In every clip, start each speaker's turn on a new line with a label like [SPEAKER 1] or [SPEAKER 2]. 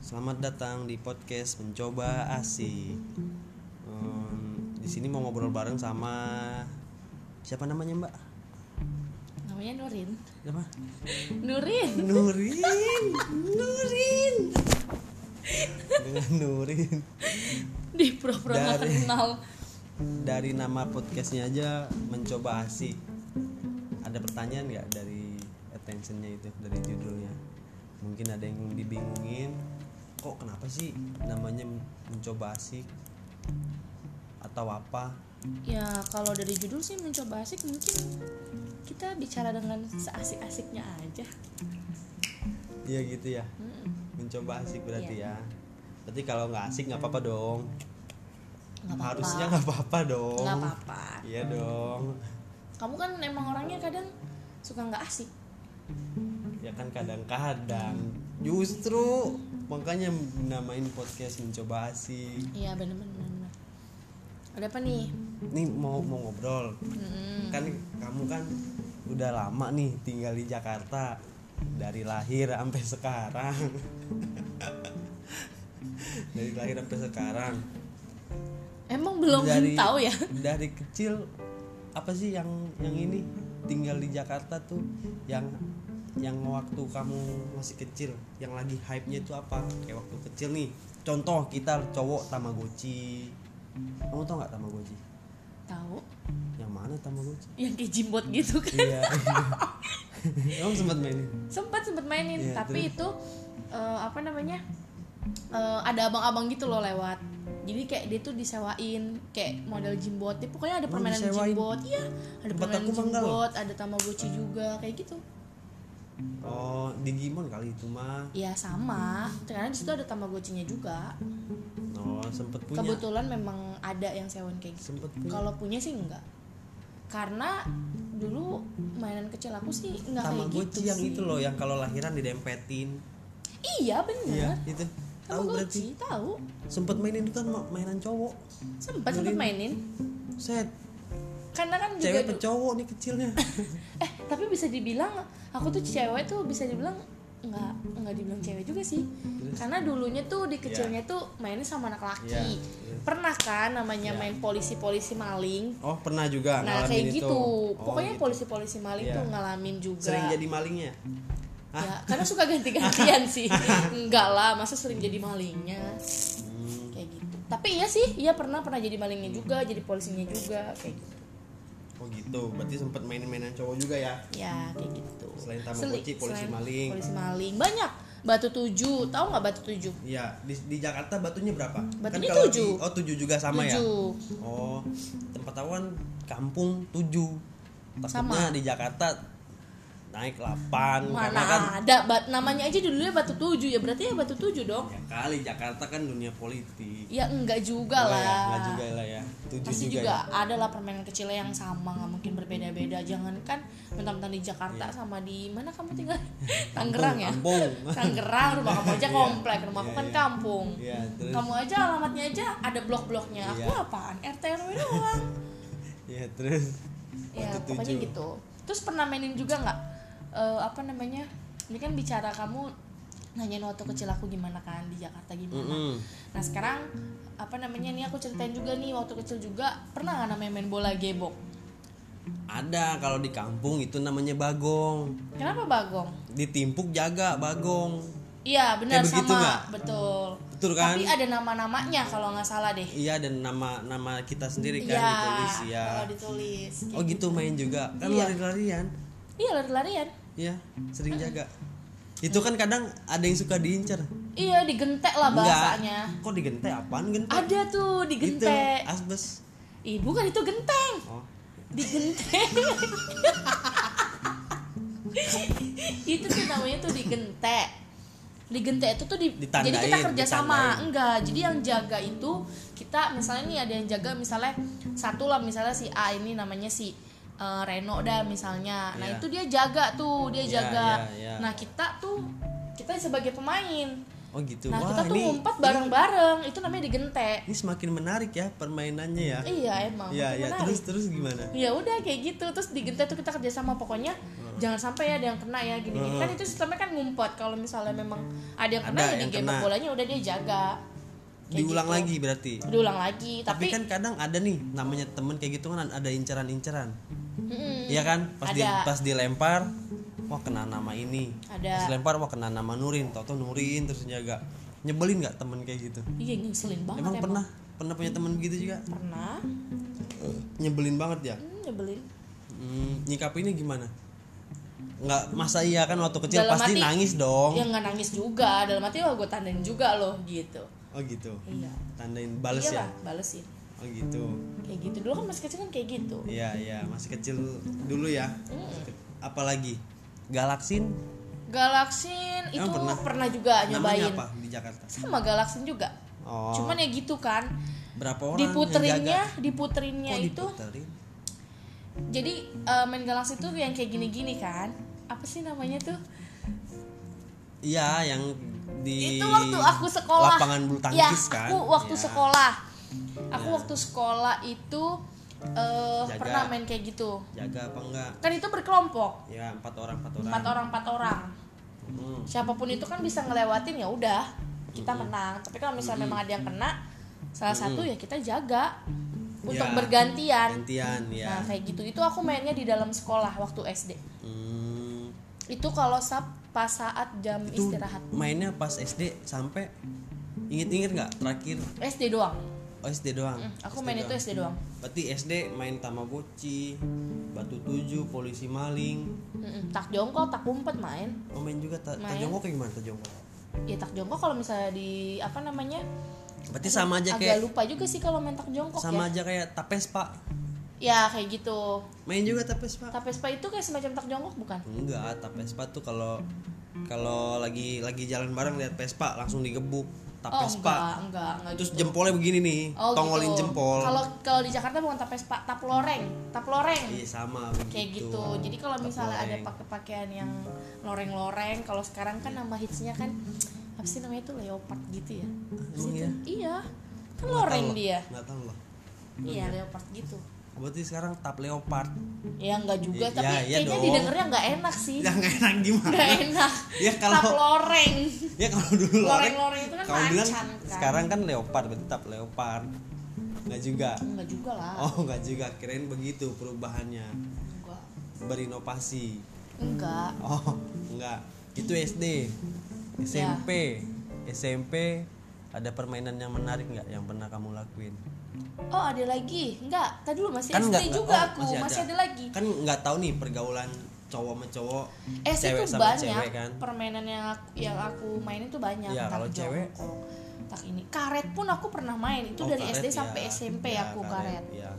[SPEAKER 1] selamat datang di podcast mencoba asik. Em, di sini mau ngobrol bareng sama siapa namanya Mbak?
[SPEAKER 2] namanya Nurin
[SPEAKER 1] Siapa?
[SPEAKER 2] Nurin
[SPEAKER 1] Nurin, Nurin, dengan Nurin.
[SPEAKER 2] di pura-pura nggak
[SPEAKER 1] Dari-
[SPEAKER 2] kenal
[SPEAKER 1] Dari nama podcastnya aja mencoba asik. Ada pertanyaan nggak dari attentionnya itu dari judulnya? Mungkin ada yang dibingungin. Kok kenapa sih namanya mencoba asik? Atau apa?
[SPEAKER 2] ya kalau dari judul sih mencoba asik mungkin kita bicara dengan seasik-asiknya aja
[SPEAKER 1] Iya gitu ya.
[SPEAKER 2] Mm-mm. Iya.
[SPEAKER 1] Mencoba asik berarti ya. Berarti kalau nggak asik nggak apa-apa dong.
[SPEAKER 2] nggak apa-apa
[SPEAKER 1] Harusnya nggak apa-apa dong.
[SPEAKER 2] nggak apa-apa
[SPEAKER 1] Iya dong.
[SPEAKER 2] kamu kan emang orangnya kadang suka nggak asik
[SPEAKER 1] Ya kan kadang-kadang. Justru makanya namain podcast mencoba asik.
[SPEAKER 2] iya bener-bener ada apa nih
[SPEAKER 1] Nih mau mau ngobrol.
[SPEAKER 2] Mm. Mm-mm.
[SPEAKER 1] Kan kamu kan udah lama nih tinggal di Jakarta dari lahir sampai sekarang. dari lahir sampai sekarang.
[SPEAKER 2] emang belum
[SPEAKER 1] dari
[SPEAKER 2] tahu ya
[SPEAKER 1] dari kecil apa sih yang yang ini tinggal di Jakarta tuh yang yang waktu kamu masih kecil yang lagi hype nya itu apa kayak waktu kecil nih contoh kita cowok Tamagotchi kamu tau nggak Tamagotchi
[SPEAKER 2] tahu
[SPEAKER 1] yang mana Tamagotchi
[SPEAKER 2] yang kayak jimbot gitu kan
[SPEAKER 1] iya kamu sempat mainin
[SPEAKER 2] sempat sempat mainin
[SPEAKER 1] Iya,
[SPEAKER 2] tapi itu eh, apa namanya eh, ada abang-abang gitu loh lewat jadi kayak dia tuh disewain kayak model jimbot dia pokoknya ada
[SPEAKER 1] Oh,
[SPEAKER 2] permainan
[SPEAKER 1] disewain.
[SPEAKER 2] jimbot iya ada
[SPEAKER 1] Tempat
[SPEAKER 2] permainan
[SPEAKER 1] aku manggal.
[SPEAKER 2] jimbot ada tamagotchi juga kayak gitu
[SPEAKER 1] oh Digimon kali itu mah
[SPEAKER 2] ya sama karena di situ ada tamagotchinya juga
[SPEAKER 1] oh sempet punya
[SPEAKER 2] kebetulan memang ada yang sewain kayak gitu
[SPEAKER 1] sempet punya
[SPEAKER 2] kalau punya sih enggak karena dulu mainan kecil aku sih enggak kayak gitu
[SPEAKER 1] Tamagotchi yang
[SPEAKER 2] sih.
[SPEAKER 1] itu loh yang kalau lahiran didempetin
[SPEAKER 2] iya bener
[SPEAKER 1] iya itu tahu berarti
[SPEAKER 2] tamagotchi tahu
[SPEAKER 1] sempet mainin itu kan ma- mainan cowok
[SPEAKER 2] sempat
[SPEAKER 1] Nurin.
[SPEAKER 2] sempat mainin
[SPEAKER 1] set
[SPEAKER 2] karena kan juga
[SPEAKER 1] cewek
[SPEAKER 2] du-
[SPEAKER 1] apa cowok nih kecilnya
[SPEAKER 2] eh tapi bisa dibilang aku tuh cewek tuh bisa dibilang nggak nggak dibilang cewek juga sih karena dulunya tuh di kecilnya tuh mainnya sama anak laki
[SPEAKER 1] Iya.
[SPEAKER 2] pernah kan namanya
[SPEAKER 1] Iya.
[SPEAKER 2] main polisi-polisi maling
[SPEAKER 1] oh pernah juga
[SPEAKER 2] nah
[SPEAKER 1] ngalamin
[SPEAKER 2] kayak
[SPEAKER 1] itu.
[SPEAKER 2] gitu
[SPEAKER 1] Oh,
[SPEAKER 2] pokoknya
[SPEAKER 1] gitu.
[SPEAKER 2] polisi-polisi maling
[SPEAKER 1] Iya.
[SPEAKER 2] tuh ngalamin juga
[SPEAKER 1] sering jadi Ah. malingnya
[SPEAKER 2] ya karena suka ganti-gantian sih enggak lah masa sering jadi malingnya
[SPEAKER 1] Hmm,
[SPEAKER 2] kayak gitu tapi iya sih iya pernah pernah jadi malingnya juga jadi polisinya juga kayak gitu
[SPEAKER 1] oh gitu berarti sempet mainin mainan cowok juga ya
[SPEAKER 2] ya kayak gitu
[SPEAKER 1] Selain Tamagotchi,
[SPEAKER 2] Seli-
[SPEAKER 1] polisi
[SPEAKER 2] selain
[SPEAKER 1] maling.
[SPEAKER 2] polisi maling banyak batu tujuh tahu nggak batu tujuh
[SPEAKER 1] Iya, di, di Jakarta batunya berapa?
[SPEAKER 2] Batunya
[SPEAKER 1] kalau
[SPEAKER 2] tujuh.
[SPEAKER 1] di- oh tujuh juga sama ya?
[SPEAKER 2] tujuh
[SPEAKER 1] Oh, tempat aku kan kampung tujuh. Takutnya
[SPEAKER 2] Sama.
[SPEAKER 1] di Jakarta naik delapan karena
[SPEAKER 2] mana
[SPEAKER 1] kan
[SPEAKER 2] ada bat namanya aja dulunya batu tujuh ya berarti ya batu tujuh dong
[SPEAKER 1] ya kali Jakarta kan dunia politik.
[SPEAKER 2] ya enggak juga
[SPEAKER 1] Oh,
[SPEAKER 2] lah
[SPEAKER 1] ya, nggak juga lah ya. Tujuh
[SPEAKER 2] pasti
[SPEAKER 1] juga, ya?
[SPEAKER 2] juga, ada lah permainan kecilnya yang sama nggak mungkin berbeda-beda jangankan mentang-mentang di Jakarta
[SPEAKER 1] Iya.
[SPEAKER 2] sama di mana kamu tinggal Tangerang ya
[SPEAKER 1] Kampung.
[SPEAKER 2] Tangerang rumah kamu aja
[SPEAKER 1] Iya.
[SPEAKER 2] komplek rumah aku
[SPEAKER 1] Iya,
[SPEAKER 2] kan
[SPEAKER 1] iya.
[SPEAKER 2] kampung
[SPEAKER 1] Iya, terus
[SPEAKER 2] kamu aja alamatnya aja ada blok-bloknya aku
[SPEAKER 1] Iya.
[SPEAKER 2] apaan RT RW doang
[SPEAKER 1] ya terus
[SPEAKER 2] ya
[SPEAKER 1] Batu
[SPEAKER 2] pokoknya
[SPEAKER 1] tujuh.
[SPEAKER 2] gitu terus pernah mainin juga nggak eh, apa namanya ini kan bicara kamu nanyain waktu kecil aku gimana kan di Jakarta gimana
[SPEAKER 1] Mm-mm.
[SPEAKER 2] nah sekarang apa namanya nih aku ceritain juga nih waktu kecil juga pernah nggak namanya main bola gebok
[SPEAKER 1] Ada kalau di kampung itu namanya bagong.
[SPEAKER 2] kenapa bagong
[SPEAKER 1] Ditimpuk jaga bagong.
[SPEAKER 2] iya benar
[SPEAKER 1] Kayak begitu
[SPEAKER 2] sama
[SPEAKER 1] nggak?
[SPEAKER 2] betul
[SPEAKER 1] Betul kan?
[SPEAKER 2] tapi ada nama namanya kalau nggak salah deh
[SPEAKER 1] Iya dan nama nama kita sendiri kan
[SPEAKER 2] iya
[SPEAKER 1] ditulis ya.
[SPEAKER 2] kalau ditulis
[SPEAKER 1] Oh gitu main juga. Kan
[SPEAKER 2] Iya.
[SPEAKER 1] lari-larian.
[SPEAKER 2] iya lari-larian
[SPEAKER 1] Iya, sering jaga. Itu kan kadang ada yang suka diincar.
[SPEAKER 2] iya digentek lah bahasanya
[SPEAKER 1] Kok digentek apaan gentek?
[SPEAKER 2] ada tuh
[SPEAKER 1] Gitu,
[SPEAKER 2] digentek
[SPEAKER 1] asbes.
[SPEAKER 2] Ih, bukan itu genteng
[SPEAKER 1] Oh.
[SPEAKER 2] digenteng itu tuh namanya tuh digentek digentek itu tuh di,
[SPEAKER 1] Ditandain,
[SPEAKER 2] jadi kita kerja sama
[SPEAKER 1] ditandain.
[SPEAKER 2] enggak jadi yang jaga itu kita misalnya nih ada yang jaga misalnya satu lah misalnya si A ini namanya si eh, Reno dah misalnya nah
[SPEAKER 1] Iya.
[SPEAKER 2] itu dia jaga tuh dia
[SPEAKER 1] Iya,
[SPEAKER 2] jaga
[SPEAKER 1] iya, iya.
[SPEAKER 2] nah kita tuh kita sebagai pemain
[SPEAKER 1] Oh gitu.
[SPEAKER 2] nah
[SPEAKER 1] Wah,
[SPEAKER 2] kita tuh
[SPEAKER 1] ini
[SPEAKER 2] ngumpet bareng-bareng itu namanya digentek
[SPEAKER 1] ini semakin menarik ya permainannya ya.
[SPEAKER 2] iya emang
[SPEAKER 1] Iya,
[SPEAKER 2] makin
[SPEAKER 1] ya.
[SPEAKER 2] menarik
[SPEAKER 1] Terus terus gimana?
[SPEAKER 2] ya udah kayak gitu terus di Genta tuh kita kerjasama pokoknya jangan sampai ya ada yang kena ya gini gini kan itu sistemnya kan ngumpet kalau misalnya memang ada yang kena
[SPEAKER 1] Ada
[SPEAKER 2] ya di
[SPEAKER 1] yang
[SPEAKER 2] game
[SPEAKER 1] kena.
[SPEAKER 2] bolanya udah dia jaga Kayak
[SPEAKER 1] diulang
[SPEAKER 2] gitu.
[SPEAKER 1] lagi berarti
[SPEAKER 2] diulang lagi
[SPEAKER 1] tapi,
[SPEAKER 2] tapi,
[SPEAKER 1] kan kadang ada nih namanya temen kayak gitu kan ada inceran-inceran
[SPEAKER 2] Mm-mm.
[SPEAKER 1] Iya kan pas di,
[SPEAKER 2] Ada.
[SPEAKER 1] pas dilempar wah kena nama ini
[SPEAKER 2] Ada.
[SPEAKER 1] pas dilempar wah kena nama Nurin tau Nurin terus jaga nyebelin nggak temen kayak gitu
[SPEAKER 2] iya ngeselin banget
[SPEAKER 1] emang pernah pernah punya temen gitu juga
[SPEAKER 2] pernah
[SPEAKER 1] nyebelin banget ya
[SPEAKER 2] hmm, nyebelin
[SPEAKER 1] hmm, nyikapinnya gimana nggak masa iya kan waktu kecil
[SPEAKER 2] Dalam
[SPEAKER 1] pasti
[SPEAKER 2] hati.
[SPEAKER 1] nangis dong
[SPEAKER 2] ya nggak nangis juga dalam hati wah gue tandain juga loh gitu
[SPEAKER 1] oh gitu
[SPEAKER 2] iya
[SPEAKER 1] tandain bales ya
[SPEAKER 2] iya lah balesin
[SPEAKER 1] oh gitu
[SPEAKER 2] kayak gitu dulu kan masih kecil kan kayak gitu
[SPEAKER 1] iya iya masih kecil dulu ya
[SPEAKER 2] Mm.
[SPEAKER 1] apalagi galaksin
[SPEAKER 2] galaksin itu
[SPEAKER 1] Emang
[SPEAKER 2] pernah,
[SPEAKER 1] pernah?
[SPEAKER 2] juga
[SPEAKER 1] namanya
[SPEAKER 2] nyobain
[SPEAKER 1] apa di Jakarta
[SPEAKER 2] sama galaksin juga
[SPEAKER 1] oh
[SPEAKER 2] cuman ya gitu kan
[SPEAKER 1] berapa orang yang jaga?
[SPEAKER 2] diputerinnya diputerinnya
[SPEAKER 1] Kok
[SPEAKER 2] ya itu
[SPEAKER 1] diputerin?
[SPEAKER 2] jadi eh, main galaksin tuh yang kayak gini-gini kan apa sih namanya tuh
[SPEAKER 1] Iya, yang di
[SPEAKER 2] itu waktu aku sekolah
[SPEAKER 1] lapangan bulu tangkis
[SPEAKER 2] ya,
[SPEAKER 1] kan.
[SPEAKER 2] aku waktu
[SPEAKER 1] Ya.
[SPEAKER 2] sekolah aku
[SPEAKER 1] Ya.
[SPEAKER 2] waktu sekolah itu eh,
[SPEAKER 1] Jaga.
[SPEAKER 2] pernah main kayak gitu
[SPEAKER 1] Jaga apa enggak?
[SPEAKER 2] kan itu berkelompok
[SPEAKER 1] Ya, empat orang, empat orang.
[SPEAKER 2] empat orang empat orang
[SPEAKER 1] Hmm.
[SPEAKER 2] siapapun itu kan bisa ngelewatin ya udah kita menang tapi kalau misalnya memang ada yang kena salah satu ya kita jaga untuk
[SPEAKER 1] Ya,
[SPEAKER 2] bergantian
[SPEAKER 1] Gantian, ya.
[SPEAKER 2] nah kayak gitu itu aku mainnya di dalam sekolah waktu SD
[SPEAKER 1] Hmm.
[SPEAKER 2] itu kalau sab pas saat jam
[SPEAKER 1] Itu
[SPEAKER 2] istirahat
[SPEAKER 1] mainnya pas SD sampai inget-inget nggak terakhir
[SPEAKER 2] SD doang
[SPEAKER 1] oh, SD doang.
[SPEAKER 2] Hmm, aku main itu
[SPEAKER 1] doang.
[SPEAKER 2] SD doang
[SPEAKER 1] Berarti SD main Tamagotchi, Batu Tujuh, Polisi Maling.
[SPEAKER 2] Mm-mm, tak jongkok tak umpet main
[SPEAKER 1] Oh, main juga ta
[SPEAKER 2] Main.
[SPEAKER 1] Tajongkok kayak gimana Tajongkok?
[SPEAKER 2] ya tak jongkok kalau misalnya di apa namanya
[SPEAKER 1] Berarti sama aja
[SPEAKER 2] agak
[SPEAKER 1] kayak
[SPEAKER 2] lupa juga sih kalau main tak jongkok
[SPEAKER 1] sama
[SPEAKER 2] ya
[SPEAKER 1] aja kayak Tapes, Pak.
[SPEAKER 2] ya kayak gitu
[SPEAKER 1] Main juga Tapes, Pak.
[SPEAKER 2] tapi spa itu kayak semacam tak jongkok bukan
[SPEAKER 1] Enggak, tap Vespa tuh kalau kalau lagi lagi jalan bareng lihat Vespa langsung digebuk. Tap
[SPEAKER 2] oh enggak
[SPEAKER 1] Vespa.
[SPEAKER 2] enggak enggak
[SPEAKER 1] Terus
[SPEAKER 2] gitu.
[SPEAKER 1] jempolnya begini nih,
[SPEAKER 2] Oh,
[SPEAKER 1] tongolin
[SPEAKER 2] gitu.
[SPEAKER 1] jempol.
[SPEAKER 2] Kalau kalau di Jakarta bukan tapes pak, tap loreng, tap loreng.
[SPEAKER 1] Iya sama begitu.
[SPEAKER 2] Kayak gitu. Jadi kalau
[SPEAKER 1] Tap
[SPEAKER 2] misalnya ada
[SPEAKER 1] loreng.
[SPEAKER 2] pakai pakaian yang loreng-loreng, kalau sekarang kan nambah hitsnya kan apa sih namanya itu leopard gitu ya? Apa sih
[SPEAKER 1] Emang
[SPEAKER 2] itu?
[SPEAKER 1] ya?
[SPEAKER 2] Iya. Kan
[SPEAKER 1] Nggak
[SPEAKER 2] loreng
[SPEAKER 1] tahu loh,
[SPEAKER 2] dia.
[SPEAKER 1] Nggak tahu loh.
[SPEAKER 2] Iya, leopard gitu.
[SPEAKER 1] Berarti sekarang tap leopard.
[SPEAKER 2] Ya enggak juga,
[SPEAKER 1] Iya,
[SPEAKER 2] tapi
[SPEAKER 1] iya
[SPEAKER 2] kayaknya
[SPEAKER 1] dong.
[SPEAKER 2] didengarnya enggak enak sih.
[SPEAKER 1] Ya nggak enak gimana?
[SPEAKER 2] Enggak enak.
[SPEAKER 1] Ya
[SPEAKER 2] Tap
[SPEAKER 1] kalau
[SPEAKER 2] loreng.
[SPEAKER 1] ya kalau dulu loreng,
[SPEAKER 2] Loreng-loreng itu kan
[SPEAKER 1] kalau bilang
[SPEAKER 2] macan kan.
[SPEAKER 1] sekarang kan leopard berarti tap leopard. Nggak juga.
[SPEAKER 2] Enggak juga lah.
[SPEAKER 1] Oh, nggak juga. Kirain begitu perubahannya.
[SPEAKER 2] Enggak.
[SPEAKER 1] Berinovasi.
[SPEAKER 2] Enggak.
[SPEAKER 1] Oh, enggak. Itu SD. SMP.
[SPEAKER 2] Ya.
[SPEAKER 1] SMP ada permainan yang menarik nggak yang pernah kamu lakuin?
[SPEAKER 2] Oh, ada lagi. Enggak. Tadi dulu masih
[SPEAKER 1] nggak
[SPEAKER 2] SD
[SPEAKER 1] nggak- oh,
[SPEAKER 2] juga aku, masih ada, lagi.
[SPEAKER 1] Kan nggak tahu nih pergaulan cowok sama cowok,
[SPEAKER 2] SD
[SPEAKER 1] cewek
[SPEAKER 2] Eh, tuh
[SPEAKER 1] sama
[SPEAKER 2] banyak
[SPEAKER 1] cewek kan.
[SPEAKER 2] permainan yang aku, yang aku mainin tuh banyak.
[SPEAKER 1] Iya, kalau
[SPEAKER 2] jongkok,
[SPEAKER 1] cewek?
[SPEAKER 2] tak ini. Karet pun aku pernah main. Itu
[SPEAKER 1] Oh,
[SPEAKER 2] dari
[SPEAKER 1] karet,
[SPEAKER 2] SD
[SPEAKER 1] ya.
[SPEAKER 2] sampai SMP
[SPEAKER 1] Ya,
[SPEAKER 2] aku karet.
[SPEAKER 1] ya.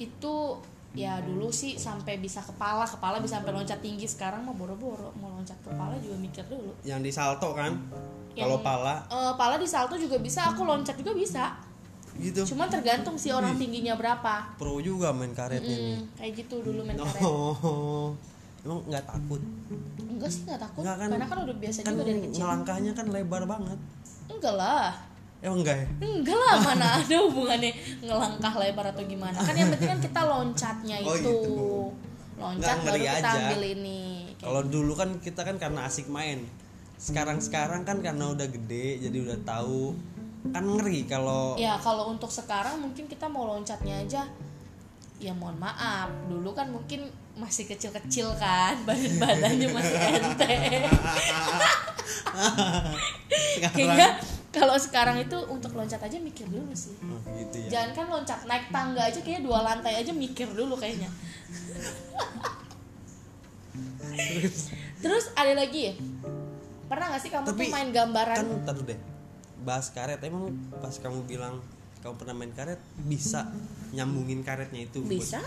[SPEAKER 2] Itu ya dulu sih sampai bisa kepala, kepala bisa sampai loncat tinggi. Sekarang mah boro-boro mau loncat kepala juga mikir dulu.
[SPEAKER 1] Yang di salto kan?
[SPEAKER 2] Yang-
[SPEAKER 1] Kalau pala
[SPEAKER 2] Eh, pala di salto juga bisa, aku loncat juga bisa.
[SPEAKER 1] gitu.
[SPEAKER 2] Cuman tergantung sih orang tingginya berapa.
[SPEAKER 1] Pro juga main karetnya nih.
[SPEAKER 2] Hmm, kayak gitu dulu main karet.
[SPEAKER 1] Oh. Emang nggak takut?
[SPEAKER 2] Enggak sih nggak takut,
[SPEAKER 1] Nggak kan-
[SPEAKER 2] karena kan udah biasa
[SPEAKER 1] Kan
[SPEAKER 2] juga dari kecil.
[SPEAKER 1] ngelangkahnya kan lebar banget.
[SPEAKER 2] Enggak lah.
[SPEAKER 1] Emang enggak ya?
[SPEAKER 2] Enggak lah, mana ada hubungannya ngelangkah lebar atau gimana. Kan yang penting kan kita loncatnya itu.
[SPEAKER 1] Oh, gitu.
[SPEAKER 2] Loncat
[SPEAKER 1] Nggak, ngeri
[SPEAKER 2] baru kita
[SPEAKER 1] aja.
[SPEAKER 2] ambil ini. Kayak
[SPEAKER 1] Kalau dulu kan kita kan karena asik main. Sekarang-sekarang kan karena udah gede jadi udah tahu kan ngeri kalau
[SPEAKER 2] Ya, kalau untuk sekarang mungkin kita mau loncatnya aja ya mohon maaf. Dulu kan mungkin masih kecil-kecil kan, badan-badannya masih enteng.
[SPEAKER 1] Ah,
[SPEAKER 2] Kayaknya
[SPEAKER 1] sekarang
[SPEAKER 2] kalau sekarang itu untuk loncat aja mikir dulu sih.
[SPEAKER 1] Oh, gitu ya.
[SPEAKER 2] Jangan kan loncat naik tangga aja kayaknya dua lantai aja mikir dulu kayaknya. Terus ada lagi ya? Pernah gak sih kamu
[SPEAKER 1] Tapi,
[SPEAKER 2] tuh main gambaran?
[SPEAKER 1] Kan ntar deh. Bahas karet emang pas kamu bilang kamu pernah main karet bisa nyambungin karetnya itu. Bud?
[SPEAKER 2] bisa,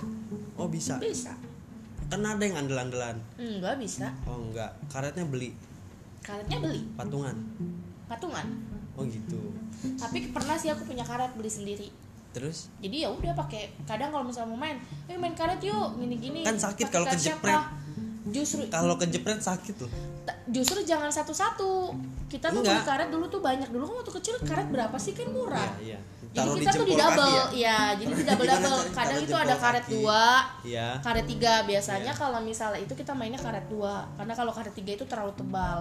[SPEAKER 1] Oh, bisa.
[SPEAKER 2] bisa.
[SPEAKER 1] Kan ada yang andel-andelan.
[SPEAKER 2] Enggak bisa.
[SPEAKER 1] Oh, enggak. Karetnya beli
[SPEAKER 2] Karetnya beli,
[SPEAKER 1] patungan.
[SPEAKER 2] patungan.
[SPEAKER 1] Oh, gitu.
[SPEAKER 2] Tapi pernah sih aku punya karet beli sendiri.
[SPEAKER 1] Terus
[SPEAKER 2] Jadi ya udah pakai. Kadang kalau misalnya mau main, eh main karet yuk, gini-gini.
[SPEAKER 1] Kan sakit
[SPEAKER 2] Pakai
[SPEAKER 1] kalau
[SPEAKER 2] karetnya
[SPEAKER 1] kejepret.
[SPEAKER 2] apa? Justru
[SPEAKER 1] kalau kejepret sakit loh.
[SPEAKER 2] Ta- justru jangan satu-satu kita tuh
[SPEAKER 1] Enggak.
[SPEAKER 2] beli karet dulu tuh banyak dulu kan waktu kecil karet berapa sih kan murah
[SPEAKER 1] Iya, iya.
[SPEAKER 2] jadi
[SPEAKER 1] Taruh di
[SPEAKER 2] kita tuh di
[SPEAKER 1] jempol kaki
[SPEAKER 2] double
[SPEAKER 1] ya?
[SPEAKER 2] ya, jadi di
[SPEAKER 1] Taruh-
[SPEAKER 2] double
[SPEAKER 1] gimana
[SPEAKER 2] double
[SPEAKER 1] caranya?
[SPEAKER 2] kadang
[SPEAKER 1] Taruh
[SPEAKER 2] itu
[SPEAKER 1] jempol
[SPEAKER 2] ada karet
[SPEAKER 1] kaki.
[SPEAKER 2] dua
[SPEAKER 1] Iya.
[SPEAKER 2] karet tiga biasanya kalau misalnya itu kita mainnya karet dua karena kalau karet tiga itu terlalu tebal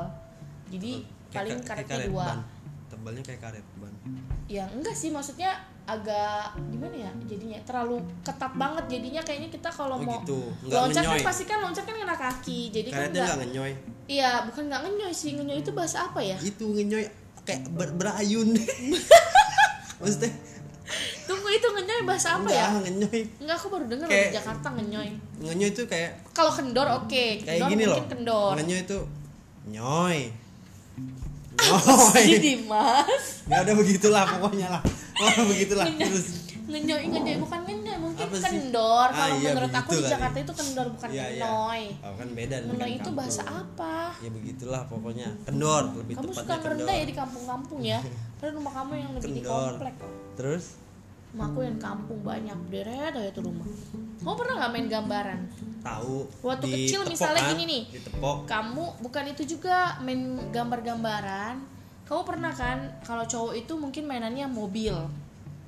[SPEAKER 2] jadi
[SPEAKER 1] Kayak
[SPEAKER 2] paling
[SPEAKER 1] ka- kayak
[SPEAKER 2] karetnya dua
[SPEAKER 1] ban. Tebalnya kayak karet ban.
[SPEAKER 2] ya enggak sih maksudnya agak gimana ya jadinya terlalu ketat banget jadinya kayaknya kita kalau
[SPEAKER 1] Oh,
[SPEAKER 2] mau
[SPEAKER 1] gitu. Nggak
[SPEAKER 2] loncat kan
[SPEAKER 1] ngenyoy.
[SPEAKER 2] pasti kan loncat kan kena kaki jadi kan
[SPEAKER 1] Karetnya
[SPEAKER 2] enggak
[SPEAKER 1] nggak ngenyoy.
[SPEAKER 2] iya bukan nggak ngenyoy sih ngenyoy itu bahasa apa ya
[SPEAKER 1] Itu ngenyoy kayak ber- berayun. Maksudnya
[SPEAKER 2] tunggu itu ngenyoy bahasa apa ya
[SPEAKER 1] enggak ngenyoy.
[SPEAKER 2] enggak aku baru dengar loh
[SPEAKER 1] Kayak-
[SPEAKER 2] di Jakarta ngenyoy
[SPEAKER 1] Ngenyoy itu kayak
[SPEAKER 2] kalau kendor oke
[SPEAKER 1] kayak
[SPEAKER 2] kendor
[SPEAKER 1] gini loh.
[SPEAKER 2] mungkin kendor
[SPEAKER 1] Ngenyoy itu nyoy. Nyoy.
[SPEAKER 2] jadi mas
[SPEAKER 1] Ya udah begitulah pokoknya lah. Pokoknya begitulah terus.
[SPEAKER 2] ngenyoy ngenyoy bukan ngenyoy mungkin
[SPEAKER 1] Apa sih?
[SPEAKER 2] kendor
[SPEAKER 1] Ah,
[SPEAKER 2] kalau
[SPEAKER 1] iya,
[SPEAKER 2] menurut aku
[SPEAKER 1] begitu
[SPEAKER 2] di
[SPEAKER 1] kali.
[SPEAKER 2] Jakarta itu kendor bukan
[SPEAKER 1] Iya, iya.
[SPEAKER 2] ngenyoy
[SPEAKER 1] Oh, kan beda dengan
[SPEAKER 2] ngenyoy itu
[SPEAKER 1] kampung.
[SPEAKER 2] bahasa apa
[SPEAKER 1] Ya begitulah pokoknya. Kendor lebih
[SPEAKER 2] kamu suka
[SPEAKER 1] tepatnya kendor.
[SPEAKER 2] ngerendah ya di kampung-kampung ya padahal rumah kamu yang lebih di
[SPEAKER 1] Kendor.
[SPEAKER 2] komplek
[SPEAKER 1] Terus
[SPEAKER 2] rumah aku yang kampung banyak deret aja tuh rumah kamu pernah nggak main gambaran
[SPEAKER 1] tahu
[SPEAKER 2] Waktu
[SPEAKER 1] ditepok
[SPEAKER 2] kecil misalnya
[SPEAKER 1] kan,
[SPEAKER 2] gini nih.
[SPEAKER 1] ditepok
[SPEAKER 2] kamu bukan itu juga main gambar-gambaran kamu pernah kan kalau cowok itu mungkin mainannya mobil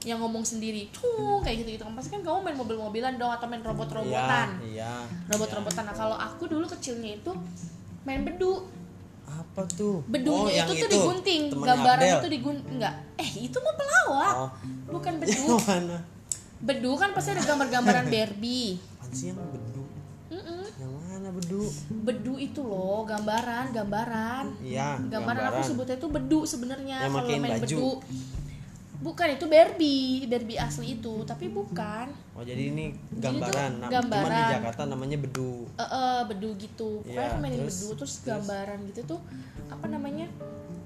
[SPEAKER 2] yang ngomong sendiri cung kayak gitu gitu pasti kan kamu main mobil-mobilan dong atau main robot-robotan
[SPEAKER 1] Iya, iya.
[SPEAKER 2] robot-robotan nah kalau aku dulu kecilnya itu main bedu
[SPEAKER 1] apa tuh Oh,
[SPEAKER 2] bedunya
[SPEAKER 1] yang
[SPEAKER 2] itu tuh digunting
[SPEAKER 1] temennya
[SPEAKER 2] gambaran
[SPEAKER 1] Abdel.
[SPEAKER 2] itu digunting enggak eh itu mah pelawak
[SPEAKER 1] Oh.
[SPEAKER 2] bukan
[SPEAKER 1] Yang
[SPEAKER 2] bedu
[SPEAKER 1] mana
[SPEAKER 2] bedu kan pasti ada gambar-gambaran Barbie
[SPEAKER 1] Apaan sih yang bedu
[SPEAKER 2] Mm-mm.
[SPEAKER 1] yang mana bedu
[SPEAKER 2] bedu itu loh gambaran gambaran
[SPEAKER 1] iya
[SPEAKER 2] gambaran, aku sebutnya itu bedu sebenarnya
[SPEAKER 1] Yang
[SPEAKER 2] kalau
[SPEAKER 1] makein
[SPEAKER 2] main
[SPEAKER 1] baju.
[SPEAKER 2] bedu bukan itu Barbie Barbie asli itu tapi bukan
[SPEAKER 1] oh jadi ini
[SPEAKER 2] tuh
[SPEAKER 1] gambaran Nah, cuman di
[SPEAKER 2] gambaran.
[SPEAKER 1] Jakarta namanya bedu
[SPEAKER 2] eh eh, bedu gitu pokoknya
[SPEAKER 1] Iya,
[SPEAKER 2] aku mainin
[SPEAKER 1] terus-
[SPEAKER 2] bedu terus,
[SPEAKER 1] terus?
[SPEAKER 2] gambaran gitu tuh apa namanya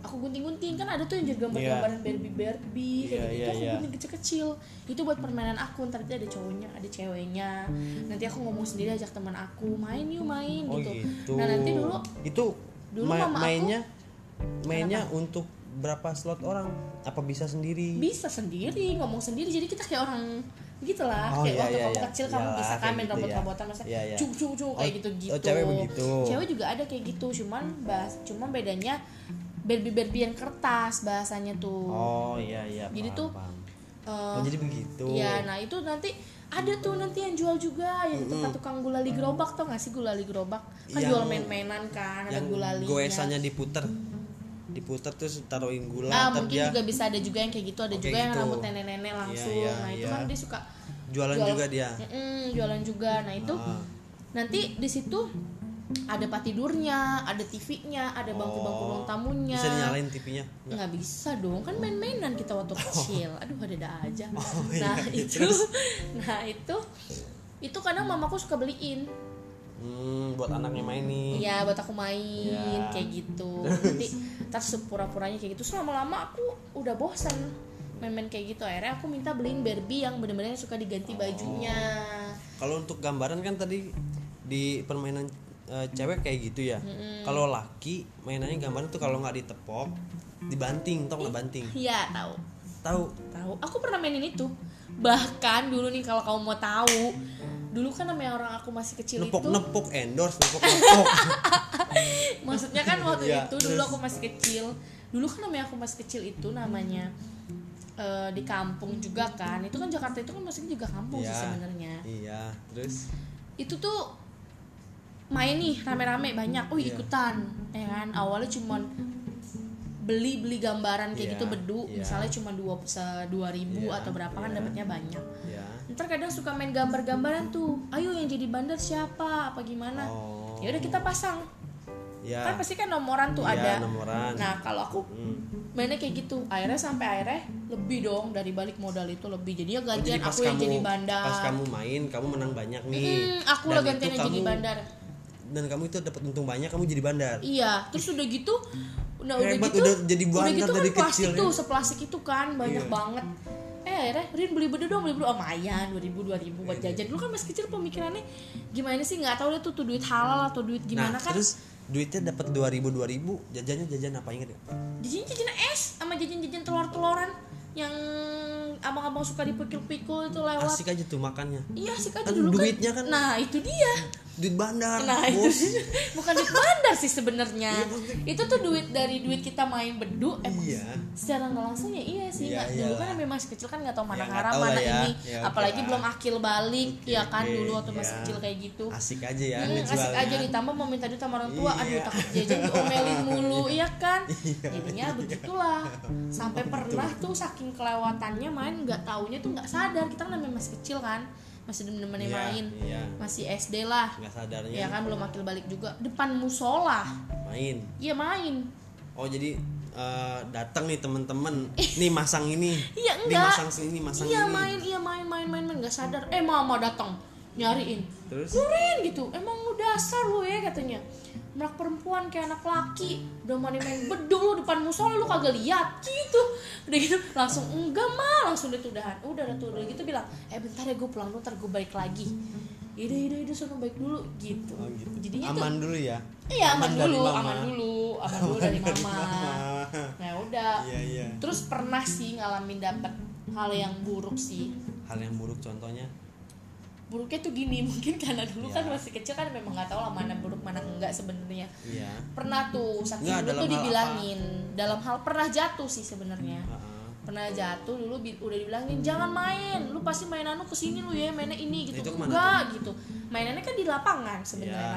[SPEAKER 2] aku gunting-gunting kan ada tuh yang jadi gambar-gambaran Barbie Barbie kayak
[SPEAKER 1] Iya,
[SPEAKER 2] gitu
[SPEAKER 1] iya,
[SPEAKER 2] aku
[SPEAKER 1] iya.
[SPEAKER 2] gunting kecil-kecil itu buat permainan aku ntar nanti ada cowoknya ada ceweknya nanti aku ngomong sendiri ajak teman aku main yuk main
[SPEAKER 1] oh
[SPEAKER 2] gitu.
[SPEAKER 1] gitu,
[SPEAKER 2] nah nanti dulu
[SPEAKER 1] itu
[SPEAKER 2] dulu
[SPEAKER 1] ma-
[SPEAKER 2] mama aku-
[SPEAKER 1] mainnya mainnya untuk berapa slot orang apa bisa sendiri
[SPEAKER 2] bisa sendiri ngomong sendiri jadi kita kayak orang gitulah
[SPEAKER 1] Oh,
[SPEAKER 2] kayak
[SPEAKER 1] iya,
[SPEAKER 2] waktu
[SPEAKER 1] iya,
[SPEAKER 2] kamu
[SPEAKER 1] iya.
[SPEAKER 2] kecil kamu
[SPEAKER 1] Iyalah,
[SPEAKER 2] bisa kan
[SPEAKER 1] kayak gitu
[SPEAKER 2] main
[SPEAKER 1] ya.
[SPEAKER 2] robot-robotan maksudnya
[SPEAKER 1] Iya, iya.
[SPEAKER 2] cung cung cung kayak
[SPEAKER 1] Oh,
[SPEAKER 2] gitu gitu
[SPEAKER 1] oh, cewek begitu.
[SPEAKER 2] cewek juga ada kayak gitu cuman bahas cuman bedanya Barbie Barbie yang kertas bahasanya tuh
[SPEAKER 1] oh iya iya
[SPEAKER 2] Jadi
[SPEAKER 1] paham,
[SPEAKER 2] tuh,
[SPEAKER 1] paham.
[SPEAKER 2] Eh,
[SPEAKER 1] oh, jadi begitu
[SPEAKER 2] Iya, nah itu nanti ada tuh nanti yang jual juga yang di tempat tukang gulali gerobak tau gak sih gulali gerobak kan
[SPEAKER 1] Yang-
[SPEAKER 2] jual main-mainan kan ada
[SPEAKER 1] yang
[SPEAKER 2] gulalinya
[SPEAKER 1] goesannya diputer diputer terus taruhin gula
[SPEAKER 2] Ah,
[SPEAKER 1] ntar
[SPEAKER 2] mungkin
[SPEAKER 1] dia
[SPEAKER 2] juga bisa ada juga yang kayak gitu ada
[SPEAKER 1] Oke,
[SPEAKER 2] juga yang
[SPEAKER 1] ya. gitu.
[SPEAKER 2] rambut nenek-nenek langsung
[SPEAKER 1] iya,
[SPEAKER 2] nah itu
[SPEAKER 1] iya.
[SPEAKER 2] kan dia suka
[SPEAKER 1] jualan
[SPEAKER 2] jual-
[SPEAKER 1] juga dia
[SPEAKER 2] Mm-mm, jualan juga nah itu
[SPEAKER 1] Ah.
[SPEAKER 2] nanti di situ ada patidurnya ada TV-nya ada bangku-bangku ruang
[SPEAKER 1] Oh,
[SPEAKER 2] tamunya
[SPEAKER 1] Bisa dinyalain TV-nya? Nggak.
[SPEAKER 2] nggak bisa dong kan main-mainan kita waktu kecil aduh ada-ada aja
[SPEAKER 1] iya,
[SPEAKER 2] nah
[SPEAKER 1] iya,
[SPEAKER 2] itu nah itu itu kadang mamaku suka beliin
[SPEAKER 1] Hmm, buat anaknya main nih.
[SPEAKER 2] Iya buat aku main
[SPEAKER 1] Hmm. Iya.
[SPEAKER 2] kayak gitu nanti terus pura-puranya kayak gitu terus lama-lama aku udah bosen main-main kayak gitu akhirnya aku minta beliin Barbie yang bener-bener suka diganti bajunya
[SPEAKER 1] Kalau untuk gambaran kan tadi di permainan eh, cewek kayak gitu ya. Kalau laki mainannya gambaran tuh kalau nggak ditepok, dibanting, tau nggak banting?
[SPEAKER 2] Iya tahu
[SPEAKER 1] Tahu?
[SPEAKER 2] tahu aku pernah mainin itu bahkan dulu nih kalau kamu mau tahu dulu kan namanya orang aku masih kecil
[SPEAKER 1] Nepok
[SPEAKER 2] itu
[SPEAKER 1] nepok endorse, nepok nepok.
[SPEAKER 2] maksudnya kan waktu
[SPEAKER 1] Iya,
[SPEAKER 2] itu dulu
[SPEAKER 1] terus.
[SPEAKER 2] aku masih kecil dulu kan namanya aku masih kecil itu namanya eh, di kampung juga kan itu kan Jakarta itu kan masih juga kampung
[SPEAKER 1] Iya.
[SPEAKER 2] sih sebenarnya
[SPEAKER 1] iya, terus
[SPEAKER 2] itu tuh main nih rame-rame banyak,
[SPEAKER 1] Iya.
[SPEAKER 2] wih ikutan, ya kan? Awalnya cuman beli beli gambaran kayak
[SPEAKER 1] Iya,
[SPEAKER 2] gitu bedu,
[SPEAKER 1] iya.
[SPEAKER 2] misalnya cuma dua dua ribu
[SPEAKER 1] Iya,
[SPEAKER 2] atau berapa kan
[SPEAKER 1] iya.
[SPEAKER 2] dapatnya banyak.
[SPEAKER 1] ya.
[SPEAKER 2] Ntar kadang suka main gambar-gambaran tuh, ayo yang jadi bandar siapa, apa gimana?
[SPEAKER 1] Oh.
[SPEAKER 2] Ya udah kita pasang,
[SPEAKER 1] Ya.
[SPEAKER 2] kan pasti kan nomoran tuh
[SPEAKER 1] Iya,
[SPEAKER 2] ada.
[SPEAKER 1] nomoran.
[SPEAKER 2] Nah kalau aku
[SPEAKER 1] Hmm.
[SPEAKER 2] mainnya kayak gitu, akhirnya sampai akhirnya lebih dong dari balik modal itu lebih. Jadi ya
[SPEAKER 1] Oh,
[SPEAKER 2] gantian aku yang jadi bandar.
[SPEAKER 1] pas kamu main, kamu menang banyak nih.
[SPEAKER 2] Hmm, aku
[SPEAKER 1] Dan
[SPEAKER 2] lah
[SPEAKER 1] itu
[SPEAKER 2] gantian yang jadi
[SPEAKER 1] kamu-
[SPEAKER 2] bandar.
[SPEAKER 1] Dan kamu itu dapat untung banyak, kamu jadi bandar.
[SPEAKER 2] Iya, terus udah gitu nah udah
[SPEAKER 1] Hebat,
[SPEAKER 2] gitu
[SPEAKER 1] udah jadi bandar
[SPEAKER 2] gitu
[SPEAKER 1] dari
[SPEAKER 2] kan plastik
[SPEAKER 1] kecil ya.
[SPEAKER 2] tuh, seplastik itu kan banyak
[SPEAKER 1] Iya.
[SPEAKER 2] banget. Eh akhirnya Rin beli bedu dong, beli bedu oh, lumayan 2000 2000 buat
[SPEAKER 1] Iya,
[SPEAKER 2] jajan. Dulu kan masih kecil pemikirannya gimana sih nggak tahu deh tuh, tuh duit halal atau duit
[SPEAKER 1] nah,
[SPEAKER 2] gimana kan.
[SPEAKER 1] terus duitnya dapat 2000 2000, jajannya jajan apa ya? inget nggak?
[SPEAKER 2] Jajan-jajan es sama jajan-jajan telur-teloran yang abang-abang suka dipikul-pikul itu lewat.
[SPEAKER 1] Asik aja tuh makannya.
[SPEAKER 2] Iya sih kan
[SPEAKER 1] Kan
[SPEAKER 2] dulu
[SPEAKER 1] duitnya kan-
[SPEAKER 2] Nah, itu dia.
[SPEAKER 1] duit bandar
[SPEAKER 2] Nah, itu
[SPEAKER 1] bos
[SPEAKER 2] bukan duit bandar sih sebenarnya.
[SPEAKER 1] Iya, maksudnya-
[SPEAKER 2] itu tuh duit dari duit kita main bedu emang
[SPEAKER 1] Iya.
[SPEAKER 2] secara nggak langsung ya iya sih.
[SPEAKER 1] Iya,
[SPEAKER 2] nggak- dulu
[SPEAKER 1] iyalah.
[SPEAKER 2] kan memang masih kecil kan nggak tahu
[SPEAKER 1] Ya,
[SPEAKER 2] mana
[SPEAKER 1] nggak
[SPEAKER 2] haram
[SPEAKER 1] tahu lah
[SPEAKER 2] mana
[SPEAKER 1] ya.
[SPEAKER 2] ini.
[SPEAKER 1] Ya, oke
[SPEAKER 2] Apalagi
[SPEAKER 1] lah.
[SPEAKER 2] belum akil balik
[SPEAKER 1] Oke,
[SPEAKER 2] ya kan
[SPEAKER 1] oke,
[SPEAKER 2] dulu waktu masih
[SPEAKER 1] iya.
[SPEAKER 2] kecil kayak gitu.
[SPEAKER 1] asik aja ya
[SPEAKER 2] Hmm,
[SPEAKER 1] ngejualnya.
[SPEAKER 2] asik aja ditambah meminta duit sama orang tua aduh
[SPEAKER 1] Iya.
[SPEAKER 2] takut jajan diomelin mulu iya kan
[SPEAKER 1] Iya,
[SPEAKER 2] jadinya begitulah sampai pernah tuh saking kelewatannya main nggak taunya tuh nggak sadar kita kan namanya masih kecil kan masih demen-demen
[SPEAKER 1] Iya,
[SPEAKER 2] main
[SPEAKER 1] iya
[SPEAKER 2] masih SD lah
[SPEAKER 1] nggak sadarnya
[SPEAKER 2] ya kan belum akil balik juga depan musola
[SPEAKER 1] main
[SPEAKER 2] iya main
[SPEAKER 1] oh jadi eh, datang nih temen-temen nih masang ini
[SPEAKER 2] Iya,
[SPEAKER 1] nih
[SPEAKER 2] enggak.
[SPEAKER 1] masang sini masang
[SPEAKER 2] iya
[SPEAKER 1] ini
[SPEAKER 2] main iya main main main main nggak sadar eh mama datang nyariin
[SPEAKER 1] terus
[SPEAKER 2] Nurin gitu emang lu dasar lu ya katanya Menak perempuan kayak anak laki Udah mani main beduk lu depan musola lu kagak lihat Gitu Udah gitu langsung enggak mah Langsung dia tuh udahan Udah udah tuh udah gitu bilang Eh bentar ya gue pulang dulu ntar gue balik lagi Ide ide ide sono baik dulu gitu,
[SPEAKER 1] Oh, gitu.
[SPEAKER 2] Jadinya
[SPEAKER 1] aman
[SPEAKER 2] tuh
[SPEAKER 1] dulu ya
[SPEAKER 2] Iya aman,
[SPEAKER 1] dari
[SPEAKER 2] dulu
[SPEAKER 1] mama.
[SPEAKER 2] aman dulu Aman dulu dari mama
[SPEAKER 1] Mama.
[SPEAKER 2] Nah udah
[SPEAKER 1] iya iya
[SPEAKER 2] Terus pernah sih ngalamin dapet hal yang buruk sih
[SPEAKER 1] hal yang buruk contohnya
[SPEAKER 2] buruknya tuh gini mungkin karena dulu kan
[SPEAKER 1] Iya.
[SPEAKER 2] masih kecil kan memang nggak tahu lah mana buruk mana enggak sebenarnya
[SPEAKER 1] iya
[SPEAKER 2] pernah tuh
[SPEAKER 1] Nggak,
[SPEAKER 2] saking dulu
[SPEAKER 1] dalam
[SPEAKER 2] tuh
[SPEAKER 1] hal
[SPEAKER 2] dibilangin dalam hal pernah jatuh sih sebenarnya
[SPEAKER 1] Heeh.
[SPEAKER 2] pernah jatuh dulu bi- udah dibilangin jangan main lu pasti mainan lu kesini lu ya mainnya ini gitu
[SPEAKER 1] Itu kemana
[SPEAKER 2] enggak gitu mainannya kan di lapangan sebenarnya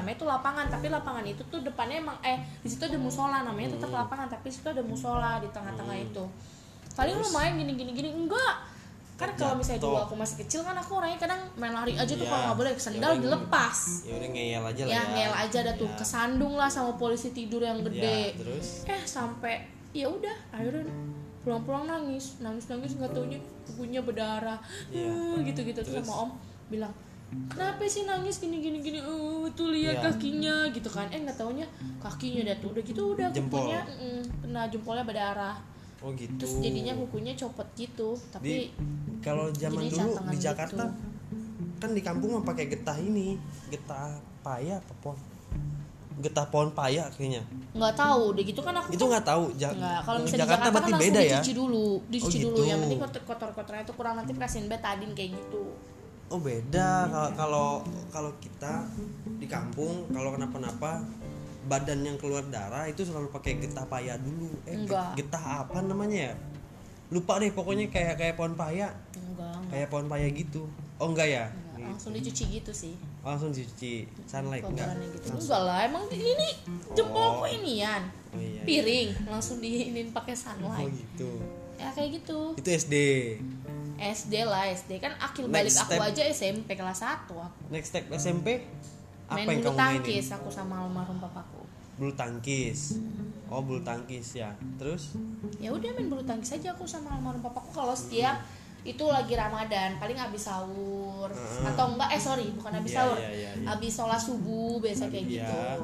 [SPEAKER 1] Iya.
[SPEAKER 2] namanya tuh lapangan tapi lapangan itu tuh depannya emang eh di situ ada musola namanya tetap
[SPEAKER 1] Hmm.
[SPEAKER 2] lapangan tapi di situ ada musola di tengah-tengah
[SPEAKER 1] Hmm.
[SPEAKER 2] itu paling lu
[SPEAKER 1] Terus?
[SPEAKER 2] main gini gini gini enggak kan kalau misalnya dulu
[SPEAKER 1] Jatuh.
[SPEAKER 2] aku masih kecil kan aku orangnya kadang main lari aja tuh
[SPEAKER 1] Iya.
[SPEAKER 2] kalau nggak boleh
[SPEAKER 1] Ya,
[SPEAKER 2] sendal
[SPEAKER 1] paling-
[SPEAKER 2] dilepas
[SPEAKER 1] ya udah ngeyel aja lah
[SPEAKER 2] ya
[SPEAKER 1] ya
[SPEAKER 2] ngel aja ada tuh
[SPEAKER 1] Ya.
[SPEAKER 2] kesandung lah sama polisi tidur yang
[SPEAKER 1] Ya,
[SPEAKER 2] gede
[SPEAKER 1] terus
[SPEAKER 2] eh sampai ya udah akhirnya pulang-pulang nangis nangis nangis nggak taunya kukunya berdarah
[SPEAKER 1] Iya.
[SPEAKER 2] Eh, gitu-gitu
[SPEAKER 1] Terus?
[SPEAKER 2] tuh sama om bilang kenapa sih nangis gini gini gini Eh, tuh
[SPEAKER 1] Iya.
[SPEAKER 2] lihat kakinya gitu kan eh nggak taunya kakinya udah tuh udah gitu udah
[SPEAKER 1] Jempol.
[SPEAKER 2] kukunya mm, kena jempolnya berdarah
[SPEAKER 1] oh gitu
[SPEAKER 2] terus jadinya kukunya copot gitu
[SPEAKER 1] di
[SPEAKER 2] tapi
[SPEAKER 1] kalau zaman
[SPEAKER 2] jadi
[SPEAKER 1] dulu
[SPEAKER 2] cantengan
[SPEAKER 1] di Jakarta
[SPEAKER 2] gitu.
[SPEAKER 1] kan di kampung mah pakai getah ini getah paya apa pohon getah pohon paya kayaknya
[SPEAKER 2] nggak tahu udah gitu kan aku
[SPEAKER 1] itu
[SPEAKER 2] kan-
[SPEAKER 1] nggak tahu Ja-
[SPEAKER 2] Enggak, kalau misalnya di
[SPEAKER 1] Jakarta berarti
[SPEAKER 2] Jakarta kan langsung
[SPEAKER 1] beda ya
[SPEAKER 2] dicuci dulu, dicuci
[SPEAKER 1] Oh,
[SPEAKER 2] dulu.
[SPEAKER 1] gitu.
[SPEAKER 2] Yang penting kotor- kotor-kotornya itu kurang nanti kasihin betadin kayak gitu.
[SPEAKER 1] oh beda Kalau- kalau kalau kita di kampung kalau kenapa-napa badan yang keluar darah itu selalu pakai getah paya dulu eh get-
[SPEAKER 2] Enggak.
[SPEAKER 1] getah apa namanya ya lupa deh pokoknya kayak kayak pohon paya
[SPEAKER 2] Enggak, enggak.
[SPEAKER 1] kayak pohon paya gitu oh enggak ya
[SPEAKER 2] enggak. Langsung dicuci gitu sih.
[SPEAKER 1] langsung dicuci sunlight enggak
[SPEAKER 2] Kotorannya gitu.
[SPEAKER 1] Langsung.
[SPEAKER 2] Enggak lah, emang di- ini
[SPEAKER 1] Oh.
[SPEAKER 2] jempolku inian.
[SPEAKER 1] Oh, iya, iya.
[SPEAKER 2] Piring langsung diinin pakai
[SPEAKER 1] Oh
[SPEAKER 2] sunlight.
[SPEAKER 1] gitu.
[SPEAKER 2] Ya kayak gitu.
[SPEAKER 1] Itu SD.
[SPEAKER 2] SD lah, SD kan akil balik
[SPEAKER 1] Next
[SPEAKER 2] aku
[SPEAKER 1] step.
[SPEAKER 2] aja SMP kelas 1 aku.
[SPEAKER 1] Next step SMP apa
[SPEAKER 2] Main
[SPEAKER 1] yang
[SPEAKER 2] bulu
[SPEAKER 1] kamu mainin?
[SPEAKER 2] tangkis aku sama almarhum papaku.
[SPEAKER 1] Bulu tangkis. Oh, bulu tangkis ya. Terus
[SPEAKER 2] ya udah main bulu tangkis aja aku sama almarhum papaku kalau setiap itu lagi Ramadan paling abis sahur
[SPEAKER 1] Heeh.
[SPEAKER 2] atau enggak eh sorry bukan abis
[SPEAKER 1] Iya,
[SPEAKER 2] sahur
[SPEAKER 1] iya, iya, iya.
[SPEAKER 2] abis sholat subuh biasa kayak
[SPEAKER 1] Iya.
[SPEAKER 2] gitu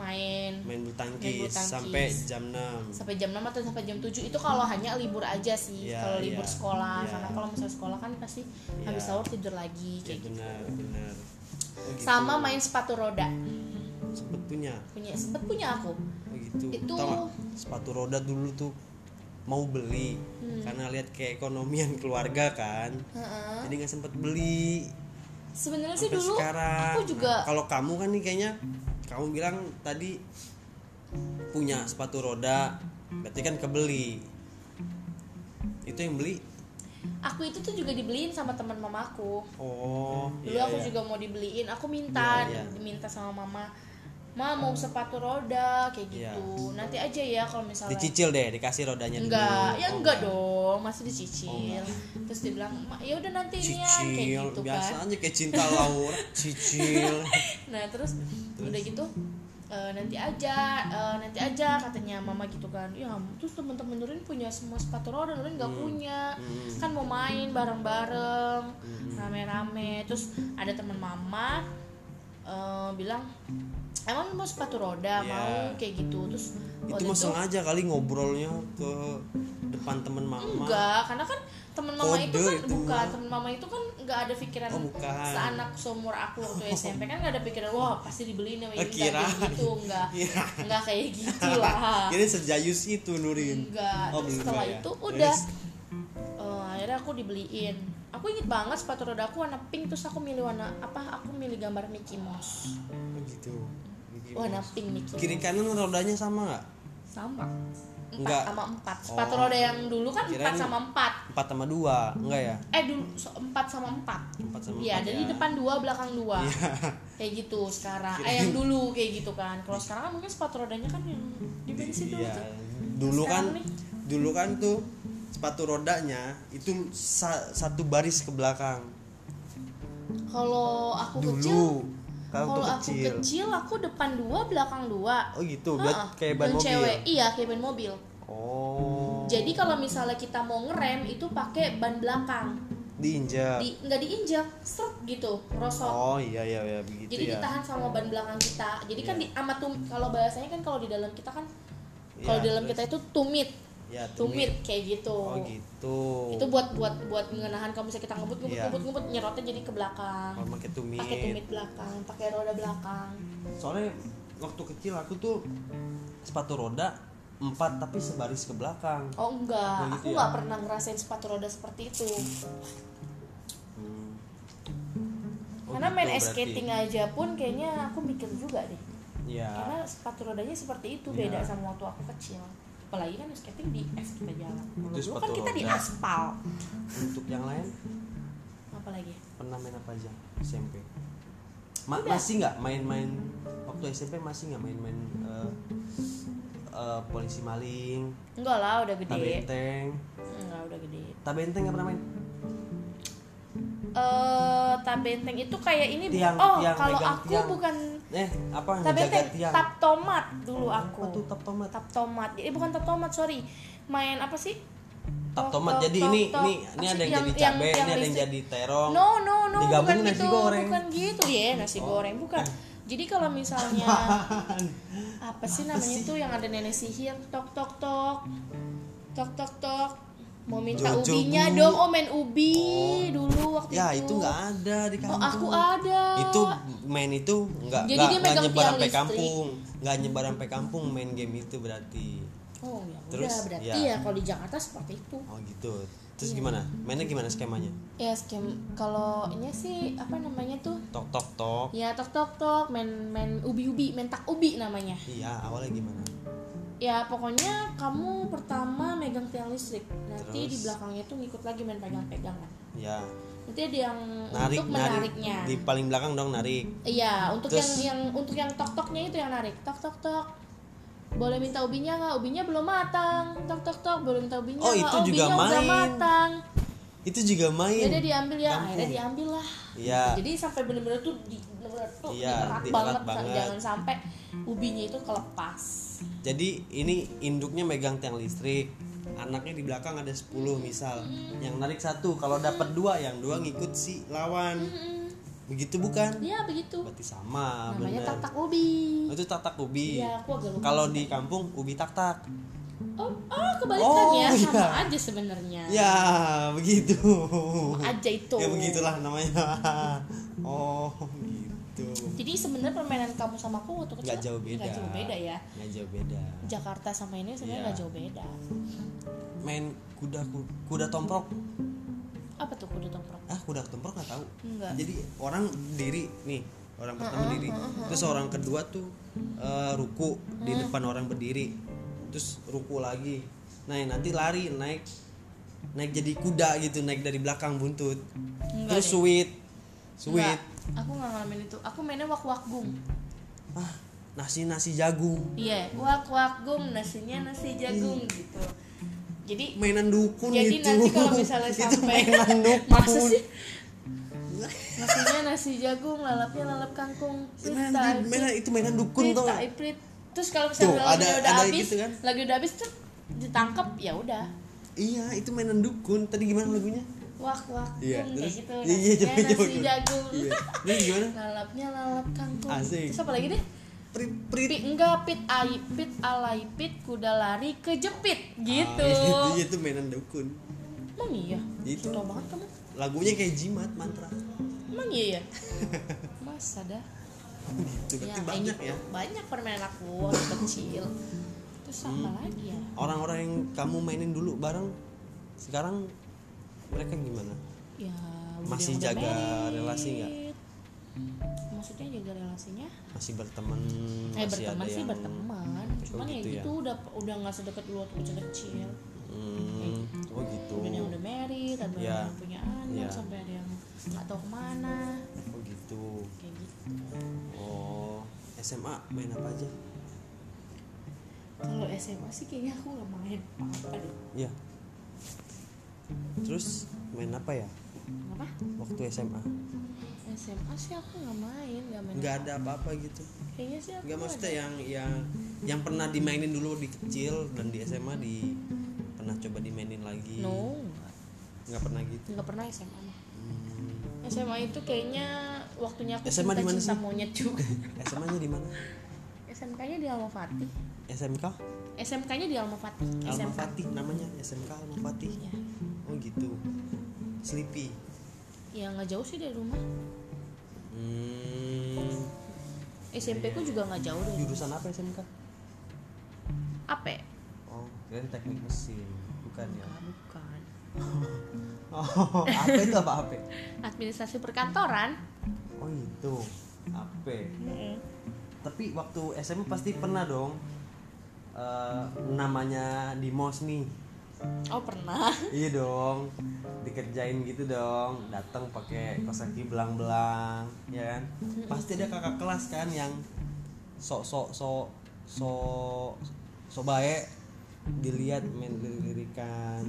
[SPEAKER 2] main
[SPEAKER 1] main bulu tangkis,
[SPEAKER 2] Main bulu tangkis.
[SPEAKER 1] sampai jam 6.
[SPEAKER 2] sampai jam 6 atau sampai jam 7 itu kalau hanya libur aja sih
[SPEAKER 1] Iya,
[SPEAKER 2] kalau libur
[SPEAKER 1] iya,
[SPEAKER 2] sekolah
[SPEAKER 1] iya.
[SPEAKER 2] karena kalau misalnya sekolah kan pasti
[SPEAKER 1] Iya.
[SPEAKER 2] habis sahur tidur lagi
[SPEAKER 1] Ya
[SPEAKER 2] kayak gitu
[SPEAKER 1] benar, benar. Oh, gitu.
[SPEAKER 2] sama main sepatu roda
[SPEAKER 1] sempet punya.
[SPEAKER 2] punya sempet punya aku
[SPEAKER 1] Oh, gitu.
[SPEAKER 2] Itu-
[SPEAKER 1] Tau nggak, sepatu roda dulu tuh mau beli
[SPEAKER 2] Hmm.
[SPEAKER 1] karena lihat keekonomian keluarga kan.
[SPEAKER 2] Heeh.
[SPEAKER 1] Jadi nggak sempet beli.
[SPEAKER 2] sebenarnya sih
[SPEAKER 1] sampai
[SPEAKER 2] dulu
[SPEAKER 1] sekarang.
[SPEAKER 2] aku juga
[SPEAKER 1] Nah, kalau kamu kan nih kayaknya kamu bilang tadi punya sepatu roda, berarti kan kebeli. Itu yang beli.
[SPEAKER 2] aku itu tuh juga dibeliin sama teman mamaku
[SPEAKER 1] Oh,
[SPEAKER 2] dulu
[SPEAKER 1] iya,
[SPEAKER 2] aku
[SPEAKER 1] iya.
[SPEAKER 2] juga mau dibeliin aku minta
[SPEAKER 1] Iya, iya.
[SPEAKER 2] diminta sama mama ma mau sepatu roda kayak
[SPEAKER 1] Iya.
[SPEAKER 2] gitu nanti aja ya kalau misalnya
[SPEAKER 1] Dicicil deh, dikasih rodanya dulu.
[SPEAKER 2] enggak ya
[SPEAKER 1] Oh,
[SPEAKER 2] enggak dong masih dicicil
[SPEAKER 1] Oh, enggak.
[SPEAKER 2] terus dia bilang "Ma, ya udah nanti ini ya kayak
[SPEAKER 1] Cicil,
[SPEAKER 2] gitu kan
[SPEAKER 1] biasanya kayak cinta Laura, cicil.
[SPEAKER 2] nah terus, udah gitu "Eh, nanti aja eh, nanti aja katanya mama gitu kan ya terus temen-temen Nurin punya semua sepatu roda Nurin nggak punya
[SPEAKER 1] Hmm.
[SPEAKER 2] kan mau main bareng-bareng rame-rame terus ada temen mama eh, bilang emang mau sepatu roda
[SPEAKER 1] Iya.
[SPEAKER 2] mau kayak gitu terus
[SPEAKER 1] itu
[SPEAKER 2] waktu
[SPEAKER 1] mah sengaja kali ngobrolnya ke depan temen mama.
[SPEAKER 2] enggak karena kan temen mama itu
[SPEAKER 1] Kode
[SPEAKER 2] kan
[SPEAKER 1] itu
[SPEAKER 2] bukan
[SPEAKER 1] mah.
[SPEAKER 2] temen mama itu kan nggak ada pikiran
[SPEAKER 1] Oh, bukan.
[SPEAKER 2] seanak seumur aku waktu SMP kan nggak ada pikiran wah pasti dibeliin sama ini nggak
[SPEAKER 1] Kira.
[SPEAKER 2] kayak gitu enggak
[SPEAKER 1] Iya.
[SPEAKER 2] enggak kayak gitu lah
[SPEAKER 1] Jadi sejayus itu Nurin.
[SPEAKER 2] enggak
[SPEAKER 1] Oh,
[SPEAKER 2] terus
[SPEAKER 1] belum
[SPEAKER 2] setelah
[SPEAKER 1] ya.
[SPEAKER 2] itu
[SPEAKER 1] Terus?
[SPEAKER 2] udah eh, akhirnya aku dibeliin aku inget banget sepatu roda aku warna pink terus aku milih warna apa aku milih gambar Mickey Mouse
[SPEAKER 1] Oh gitu. Mickey
[SPEAKER 2] warna
[SPEAKER 1] Mouse.
[SPEAKER 2] pink Mickey
[SPEAKER 1] Kiri kanan rodanya sama nggak?
[SPEAKER 2] sama empat
[SPEAKER 1] Enggak.
[SPEAKER 2] sama empat sepatu
[SPEAKER 1] Oh.
[SPEAKER 2] roda yang dulu kan empat
[SPEAKER 1] Kirain-
[SPEAKER 2] sama empat
[SPEAKER 1] Empat sama dua, enggak ya?
[SPEAKER 2] eh dulu so- empat sama empat
[SPEAKER 1] Empat sama
[SPEAKER 2] Iya,
[SPEAKER 1] empat
[SPEAKER 2] jadi
[SPEAKER 1] ya.
[SPEAKER 2] depan dua, belakang dua.
[SPEAKER 1] Iya.
[SPEAKER 2] Kayak gitu sekarang. Eh
[SPEAKER 1] Kirain-
[SPEAKER 2] yang dulu kayak gitu kan. Kalau sekarang kan mungkin sepatu rodanya kan yang dibeli situ
[SPEAKER 1] Iya.
[SPEAKER 2] aja.
[SPEAKER 1] Dulu kan,
[SPEAKER 2] Sekarang nih.
[SPEAKER 1] dulu kan tuh sepatu rodanya itu sa- satu baris ke belakang.
[SPEAKER 2] Kalau aku kecil,
[SPEAKER 1] Dulu, kalau
[SPEAKER 2] kalau
[SPEAKER 1] tuh
[SPEAKER 2] aku
[SPEAKER 1] kecil.
[SPEAKER 2] kecil aku depan dua, belakang dua.
[SPEAKER 1] Oh gitu, buat
[SPEAKER 2] Ha-ha.
[SPEAKER 1] kayak ban
[SPEAKER 2] Dan
[SPEAKER 1] mobil.
[SPEAKER 2] Cewek. Iya, kayak ban mobil.
[SPEAKER 1] Oh.
[SPEAKER 2] Jadi kalau misalnya kita mau ngerem itu pakai ban belakang.
[SPEAKER 1] diinjak.
[SPEAKER 2] Di nggak diinjak, seret gitu, rosok.
[SPEAKER 1] Iya. Oh iya iya iya begitu
[SPEAKER 2] Jadi
[SPEAKER 1] ya.
[SPEAKER 2] ditahan sama ban belakang kita. Jadi kan
[SPEAKER 1] Iya.
[SPEAKER 2] di amat tum- kalau bahasanya kan kalau di dalam kita kan
[SPEAKER 1] Iya,
[SPEAKER 2] kalau di dalam
[SPEAKER 1] terus?
[SPEAKER 2] kita itu tumit.
[SPEAKER 1] Ya,
[SPEAKER 2] tumit kayak gitu.
[SPEAKER 1] Oh gitu.
[SPEAKER 2] Itu buat buat buat ngenahan kalau misalnya kita ngebut ngebut
[SPEAKER 1] Iya.
[SPEAKER 2] ngebut ngebut nyerotnya jadi ke belakang.
[SPEAKER 1] Kalau pakai tumit.
[SPEAKER 2] Pakai tumit belakang, pakai roda belakang.
[SPEAKER 1] Soalnya waktu kecil aku tuh sepatu roda empat tapi sebaris ke belakang.
[SPEAKER 2] Oh
[SPEAKER 1] Oh,
[SPEAKER 2] enggak,
[SPEAKER 1] gitu
[SPEAKER 2] aku
[SPEAKER 1] ya? Oh,
[SPEAKER 2] nggak pernah ngerasain sepatu roda seperti itu.
[SPEAKER 1] Hmm. Oh,
[SPEAKER 2] Karena main
[SPEAKER 1] gitu
[SPEAKER 2] ice
[SPEAKER 1] berarti.
[SPEAKER 2] skating kan? aja pun kayaknya aku mikir juga deh.
[SPEAKER 1] Iya.
[SPEAKER 2] Karena sepatu rodanya seperti itu
[SPEAKER 1] Iya.
[SPEAKER 2] beda sama waktu aku kecil. Apalagi kan ice skating di es kita jalan. Kalau
[SPEAKER 1] Itu
[SPEAKER 2] dulu kan
[SPEAKER 1] sepatu
[SPEAKER 2] kita di
[SPEAKER 1] roda.
[SPEAKER 2] aspal.
[SPEAKER 1] Untuk yang lain
[SPEAKER 2] Apalagi?
[SPEAKER 1] pernah main apa aja SMP? Ma-
[SPEAKER 2] Udah.
[SPEAKER 1] masih nggak main-main waktu SMP masih nggak main-main eh, eh, polisi maling,
[SPEAKER 2] Enggak lah, udah gede.
[SPEAKER 1] tabenteng,
[SPEAKER 2] Enggak, udah gede.
[SPEAKER 1] tabenteng nggak pernah main?
[SPEAKER 2] eh tabenteng itu kayak ini Bu.
[SPEAKER 1] Tiang-
[SPEAKER 2] oh
[SPEAKER 1] tiang,
[SPEAKER 2] kalau
[SPEAKER 1] megang
[SPEAKER 2] aku
[SPEAKER 1] tiang.
[SPEAKER 2] bukan
[SPEAKER 1] Eh apa
[SPEAKER 2] tabenteng
[SPEAKER 1] ngejaga tiang? Oh,
[SPEAKER 2] tap tomat dulu aku
[SPEAKER 1] Apa tuh tap tomat?
[SPEAKER 2] tap tomat jadi bukan tap tomat sorry main apa sih
[SPEAKER 1] Tap
[SPEAKER 2] Tok,
[SPEAKER 1] tomat.
[SPEAKER 2] tok,
[SPEAKER 1] Jadi
[SPEAKER 2] tok,
[SPEAKER 1] ini
[SPEAKER 2] tok.
[SPEAKER 1] ini
[SPEAKER 2] Apa
[SPEAKER 1] ini ada yang,
[SPEAKER 2] sih yang-
[SPEAKER 1] jadi
[SPEAKER 2] yang-
[SPEAKER 1] cabe,
[SPEAKER 2] yang
[SPEAKER 1] ini ada yang
[SPEAKER 2] listrik?
[SPEAKER 1] jadi terong.
[SPEAKER 2] no no no bukan
[SPEAKER 1] Digabungin nasi
[SPEAKER 2] gitu
[SPEAKER 1] goreng.
[SPEAKER 2] bukan gitu ya nasi
[SPEAKER 1] Oh.
[SPEAKER 2] goreng bukan jadi kalau misalnya apa sih
[SPEAKER 1] Apa
[SPEAKER 2] namanya
[SPEAKER 1] sih?
[SPEAKER 2] itu yang ada nenek sihir tok tok tok tok tok tok mau minta
[SPEAKER 1] Jojo,
[SPEAKER 2] ubinya
[SPEAKER 1] Bu.
[SPEAKER 2] dong oh main ubi
[SPEAKER 1] Oh.
[SPEAKER 2] dulu waktu
[SPEAKER 1] ya
[SPEAKER 2] itu
[SPEAKER 1] itu nggak ada di
[SPEAKER 2] oh
[SPEAKER 1] kampung.
[SPEAKER 2] aku ada
[SPEAKER 1] Itu main itu nggak
[SPEAKER 2] Jadi
[SPEAKER 1] nggak
[SPEAKER 2] dia
[SPEAKER 1] nggak
[SPEAKER 2] megang
[SPEAKER 1] nyebar
[SPEAKER 2] tiang
[SPEAKER 1] sampai
[SPEAKER 2] listrik.
[SPEAKER 1] kampung, nggak nyebar sampai kampung main game itu berarti.
[SPEAKER 2] Oh ya
[SPEAKER 1] Terus,
[SPEAKER 2] udah berarti
[SPEAKER 1] ya.
[SPEAKER 2] ya, kalau di Jakarta seperti itu.
[SPEAKER 1] Oh gitu.
[SPEAKER 2] Iya.
[SPEAKER 1] Terus gimana? Mainnya gimana skemanya?
[SPEAKER 2] Ya skim kalau ini sih apa namanya tuh?
[SPEAKER 1] Tok tok tok.
[SPEAKER 2] Ya tok tok tok main main ubi-ubi, main tak ubi namanya.
[SPEAKER 1] Iya, awalnya gimana?
[SPEAKER 2] Ya pokoknya kamu pertama megang tiang listrik. Nanti
[SPEAKER 1] Terus?
[SPEAKER 2] di belakangnya tuh ngikut lagi main pegang-pegangan.
[SPEAKER 1] Ya,
[SPEAKER 2] Nanti ada yang
[SPEAKER 1] narik
[SPEAKER 2] untuk
[SPEAKER 1] narik
[SPEAKER 2] menariknya.
[SPEAKER 1] di paling belakang dong narik.
[SPEAKER 2] Iya, untuk
[SPEAKER 1] Terus?
[SPEAKER 2] yang yang untuk yang tok toknya itu yang narik. Tok tok tok. Boleh minta ubinya nggak? Ubinya belum matang. Tok tok tok. Boleh minta ubinya
[SPEAKER 1] Oh,
[SPEAKER 2] nggak?
[SPEAKER 1] itu juga
[SPEAKER 2] ubinya udah
[SPEAKER 1] main.
[SPEAKER 2] matang.
[SPEAKER 1] Itu juga
[SPEAKER 2] Ya
[SPEAKER 1] main.
[SPEAKER 2] udah diambil ya,
[SPEAKER 1] Kampung.
[SPEAKER 2] akhirnya diambil lah.
[SPEAKER 1] Iya.
[SPEAKER 2] Jadi sampai bener-bener tuh di bener-bener tuh
[SPEAKER 1] Iya,
[SPEAKER 2] dierat
[SPEAKER 1] dierat
[SPEAKER 2] banget,
[SPEAKER 1] banget.
[SPEAKER 2] jangan sampai ubinya itu kelepas.
[SPEAKER 1] Jadi ini induknya megang tiang listrik, anaknya di belakang ada 10 misal, yang narik satu, kalau dapat dua, yang dua ngikut si lawan,
[SPEAKER 2] Mm-mm.
[SPEAKER 1] begitu bukan?
[SPEAKER 2] Iya begitu.
[SPEAKER 1] Berarti sama,
[SPEAKER 2] Namanya
[SPEAKER 1] bener. Oh,
[SPEAKER 2] tak-tak ubi.
[SPEAKER 1] Itu tatak ubi.
[SPEAKER 2] Iya, aku agak lupa.
[SPEAKER 1] Kalau di kampung ubi tak-tak.
[SPEAKER 2] Oh, oh kebalikannya
[SPEAKER 1] Oh,
[SPEAKER 2] sama
[SPEAKER 1] iya.
[SPEAKER 2] aja sebenarnya.
[SPEAKER 1] Ya, begitu.
[SPEAKER 2] Aja itu.
[SPEAKER 1] Ya begitulah namanya. oh, gitu.
[SPEAKER 2] Jadi sebenarnya permainan kamu sama aku waktu kecil
[SPEAKER 1] Nggak jauh beda.
[SPEAKER 2] nggak jauh beda ya.
[SPEAKER 1] Nggak jauh beda.
[SPEAKER 2] Jakarta sama
[SPEAKER 1] Iya.
[SPEAKER 2] ini sebenarnya nggak jauh beda.
[SPEAKER 1] Main kuda kuda tomprok.
[SPEAKER 2] Apa tuh kuda tongprong?
[SPEAKER 1] ah kuda tomprok nggak tahu
[SPEAKER 2] Nggak.
[SPEAKER 1] jadi orang diri nih orang pertama diri terus orang kedua tuh eh, ruku di depan orang berdiri terus ruku lagi nah yang nanti lari naik naik jadi kuda gitu naik dari belakang buntut
[SPEAKER 2] Nggak
[SPEAKER 1] terus
[SPEAKER 2] deh.
[SPEAKER 1] sweet
[SPEAKER 2] Nggak,
[SPEAKER 1] sweet
[SPEAKER 2] Aku nggak ngalamin itu. Aku mainnya wak-wakgung.
[SPEAKER 1] ah nasi nasi jagung
[SPEAKER 2] Iya, wak wak gum nasinya nasi jagung
[SPEAKER 1] Iya.
[SPEAKER 2] gitu. Jadi
[SPEAKER 1] mainan dukun
[SPEAKER 2] jadi
[SPEAKER 1] itu
[SPEAKER 2] nanti kalau misalnya
[SPEAKER 1] itu
[SPEAKER 2] sampai
[SPEAKER 1] mainan
[SPEAKER 2] masa
[SPEAKER 1] dukun
[SPEAKER 2] sih nasinya nasi jagung, lalapnya lalap kangkung,
[SPEAKER 1] Mainan-
[SPEAKER 2] prita,
[SPEAKER 1] mainan- itu mainan dukun
[SPEAKER 2] prita,
[SPEAKER 1] tuh
[SPEAKER 2] iprit. Terus kalau misalnya
[SPEAKER 1] Tuh,
[SPEAKER 2] lagunya
[SPEAKER 1] ada-
[SPEAKER 2] udah
[SPEAKER 1] ada
[SPEAKER 2] habis,
[SPEAKER 1] gitu kan?
[SPEAKER 2] lagi udah habis tuh ditangkap ya udah.
[SPEAKER 1] iya itu mainan dukun tadi gimana lagunya
[SPEAKER 2] Wak wak gum
[SPEAKER 1] Iya,
[SPEAKER 2] kayak
[SPEAKER 1] terus-
[SPEAKER 2] gitu.
[SPEAKER 1] iya, iya,
[SPEAKER 2] Nasinya
[SPEAKER 1] coba- coba
[SPEAKER 2] nasi
[SPEAKER 1] gua.
[SPEAKER 2] jagung.
[SPEAKER 1] iya terus gimana
[SPEAKER 2] lalapnya lalap kangkung.
[SPEAKER 1] Asik.
[SPEAKER 2] Terus apa lagi deh?
[SPEAKER 1] prit prit
[SPEAKER 2] Pit, enggak pit ai pit alai pit kuda lari kejepit gitu.
[SPEAKER 1] Ah, Gitu. itu, itu mainan dukun.
[SPEAKER 2] Emang iya?
[SPEAKER 1] Itu.
[SPEAKER 2] Tau banget kamu
[SPEAKER 1] Lagunya kayak jimat mantra.
[SPEAKER 2] Emang iya ya? Masa dah
[SPEAKER 1] Gitu. Berarti
[SPEAKER 2] kayak
[SPEAKER 1] banyak
[SPEAKER 2] gitu.
[SPEAKER 1] ya.
[SPEAKER 2] Banyak permainan aku waktu kecil Terus apa
[SPEAKER 1] Hmm.
[SPEAKER 2] lagi ya?
[SPEAKER 1] Orang-orang yang kamu mainin dulu bareng sekarang mereka gimana?
[SPEAKER 2] ya udah-
[SPEAKER 1] Masih
[SPEAKER 2] udah
[SPEAKER 1] jaga
[SPEAKER 2] married.
[SPEAKER 1] relasi nggak?
[SPEAKER 2] maksudnya jaga relasinya
[SPEAKER 1] masih berteman
[SPEAKER 2] eh
[SPEAKER 1] masih
[SPEAKER 2] berteman
[SPEAKER 1] ada
[SPEAKER 2] sih
[SPEAKER 1] yang
[SPEAKER 2] berteman cuman
[SPEAKER 1] gitu
[SPEAKER 2] ya
[SPEAKER 1] ya?
[SPEAKER 2] gitu udah udah nggak sedekat dulu waktu kecil kecil
[SPEAKER 1] Hmm, oh gitu
[SPEAKER 2] ada yang udah married ada
[SPEAKER 1] Ya.
[SPEAKER 2] yang punya anak
[SPEAKER 1] Ya.
[SPEAKER 2] sampai ada yang nggak tahu kemana
[SPEAKER 1] oh gitu
[SPEAKER 2] kayak gitu
[SPEAKER 1] oh SMA main apa aja
[SPEAKER 2] kalau SMA sih kayaknya aku nggak main apa-apa deh
[SPEAKER 1] ya terus main apa ya
[SPEAKER 2] apa
[SPEAKER 1] waktu SMA
[SPEAKER 2] SMA sih aku nggak main nggak main
[SPEAKER 1] nggak ada apa-apa gitu
[SPEAKER 2] kayaknya sih aku
[SPEAKER 1] nggak
[SPEAKER 2] nggak
[SPEAKER 1] maksudnya yang yang yang pernah dimainin dulu di kecil dan di SMA di pernah coba dimainin
[SPEAKER 2] ada.
[SPEAKER 1] lagi
[SPEAKER 2] no nggak.
[SPEAKER 1] nggak pernah gitu
[SPEAKER 2] nggak pernah SMA mah
[SPEAKER 1] Hmm.
[SPEAKER 2] SMA itu kayaknya waktunya aku
[SPEAKER 1] SMA di
[SPEAKER 2] cinta
[SPEAKER 1] mana
[SPEAKER 2] cinta
[SPEAKER 1] sih?
[SPEAKER 2] monyet juga
[SPEAKER 1] SMA nya di mana
[SPEAKER 2] SMK nya di Alma Fatih
[SPEAKER 1] SMK
[SPEAKER 2] SMK nya di Alma Fatih
[SPEAKER 1] Alma
[SPEAKER 2] SMK
[SPEAKER 1] Fatih namanya SMK Alma Fatih
[SPEAKER 2] ya
[SPEAKER 1] oh gitu Sleepy
[SPEAKER 2] ya nggak jauh sih dari rumah
[SPEAKER 1] Hmm,
[SPEAKER 2] SMP ku juga nggak jauh dari
[SPEAKER 1] jurusan apa SMK?
[SPEAKER 2] apa ya?
[SPEAKER 1] Oh, keren teknik mesin, bukan ya?
[SPEAKER 2] Nggak, bukan
[SPEAKER 1] Oh, apa itu apa apa?
[SPEAKER 2] administrasi perkantoran
[SPEAKER 1] Oh itu, apa? Tapi waktu SMA pasti pernah dong eh, namanya di mos nih,
[SPEAKER 2] oh pernah
[SPEAKER 1] iya dong, dikerjain gitu dong, datang pakai kosaki belang-belang, ya kan? Pasti ada kakak kelas kan yang sok sok sok sok sok baik dilihat main lirik-lirikan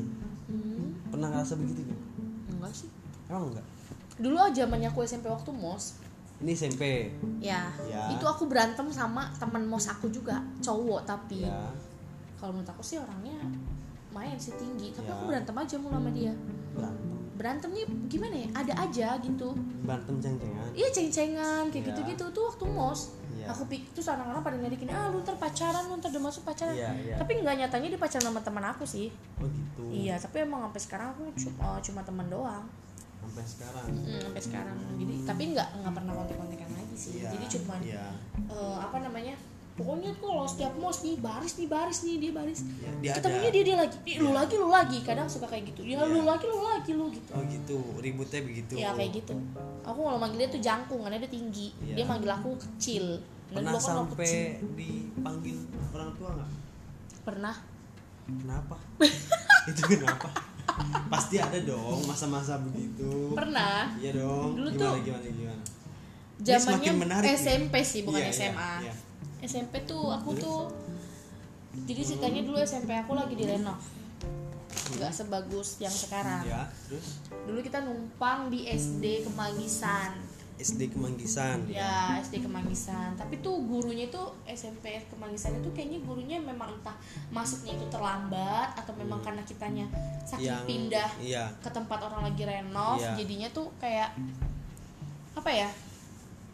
[SPEAKER 2] hmm,
[SPEAKER 1] pernah ngerasa begitu gak?
[SPEAKER 2] enggak sih
[SPEAKER 1] emang enggak
[SPEAKER 2] dulu aja zamannya aku SMP waktu mos
[SPEAKER 1] ini SMP
[SPEAKER 2] ya,
[SPEAKER 1] Ya.
[SPEAKER 2] itu aku berantem sama teman mos aku juga cowok tapi
[SPEAKER 1] ya
[SPEAKER 2] kalau menurut aku sih orangnya main sih tinggi tapi
[SPEAKER 1] Ya. Hmm.
[SPEAKER 2] aku berantem aja mulu sama dia
[SPEAKER 1] berantem
[SPEAKER 2] berantemnya gimana ya ada aja gitu
[SPEAKER 1] berantem ceng-cengan
[SPEAKER 2] iya ceng-cengan kayak
[SPEAKER 1] Ya.
[SPEAKER 2] gitu-gitu tuh waktu mos
[SPEAKER 1] Ya.
[SPEAKER 2] aku pikir terus anak-anak pada nyariin ah lu ntar pacaran lu ntar udah masuk pacaran
[SPEAKER 1] Iya, iya.
[SPEAKER 2] tapi nggak nyatanya dia pacaran sama teman aku sih
[SPEAKER 1] oh gitu
[SPEAKER 2] iya tapi emang sampai sekarang aku cuma, cuma teman doang
[SPEAKER 1] sampai sekarang
[SPEAKER 2] Hmm, sampai sekarang jadi tapi nggak nggak pernah kontek-kontekan lagi sih
[SPEAKER 1] Iya,
[SPEAKER 2] jadi cuman
[SPEAKER 1] iya.
[SPEAKER 2] eh, apa namanya pokoknya kalau setiap mos nih baris nih baris nih dia baris
[SPEAKER 1] Ya, dia
[SPEAKER 2] ketemunya
[SPEAKER 1] ada.
[SPEAKER 2] dia dia lagi Ih, lu lagi lu lagi kadang suka kayak gitu ya lu
[SPEAKER 1] Iya.
[SPEAKER 2] lagi lu lagi lu gitu
[SPEAKER 1] oh gitu ributnya begitu
[SPEAKER 2] ya kayak gitu aku kalau manggil dia tuh jangkung karena dia tinggi
[SPEAKER 1] Iya.
[SPEAKER 2] dia manggil aku kecil Dan
[SPEAKER 1] pernah
[SPEAKER 2] dulu aku orang kecil.
[SPEAKER 1] sampai dipanggil orang tua nggak
[SPEAKER 2] pernah
[SPEAKER 1] kenapa itu kenapa pasti ada dong masa-masa begitu
[SPEAKER 2] pernah
[SPEAKER 1] iya dong
[SPEAKER 2] Dulu
[SPEAKER 1] gimana
[SPEAKER 2] tuh-
[SPEAKER 1] gimana gimana Ini
[SPEAKER 2] zamannya
[SPEAKER 1] semakin menarik nih.
[SPEAKER 2] SMP sih bukan
[SPEAKER 1] Iya, iya,
[SPEAKER 2] SMA
[SPEAKER 1] iya.
[SPEAKER 2] SMP tuh aku
[SPEAKER 1] Terus?
[SPEAKER 2] tuh jadi ceritanya dulu SMP aku lagi direnov nggak sebagus yang sekarang
[SPEAKER 1] ya Hmm. terus
[SPEAKER 2] dulu kita numpang di SD Kemanggisan
[SPEAKER 1] SD Kemanggisan
[SPEAKER 2] ya SD Kemanggisan tapi tuh gurunya itu SMP Kemanggisan itu kayaknya gurunya memang entah masuknya itu terlambat atau memang karena kitanya sakit
[SPEAKER 1] yang
[SPEAKER 2] pindah
[SPEAKER 1] iya
[SPEAKER 2] ke tempat orang lagi renov
[SPEAKER 1] Iya.
[SPEAKER 2] jadinya tuh kayak apa ya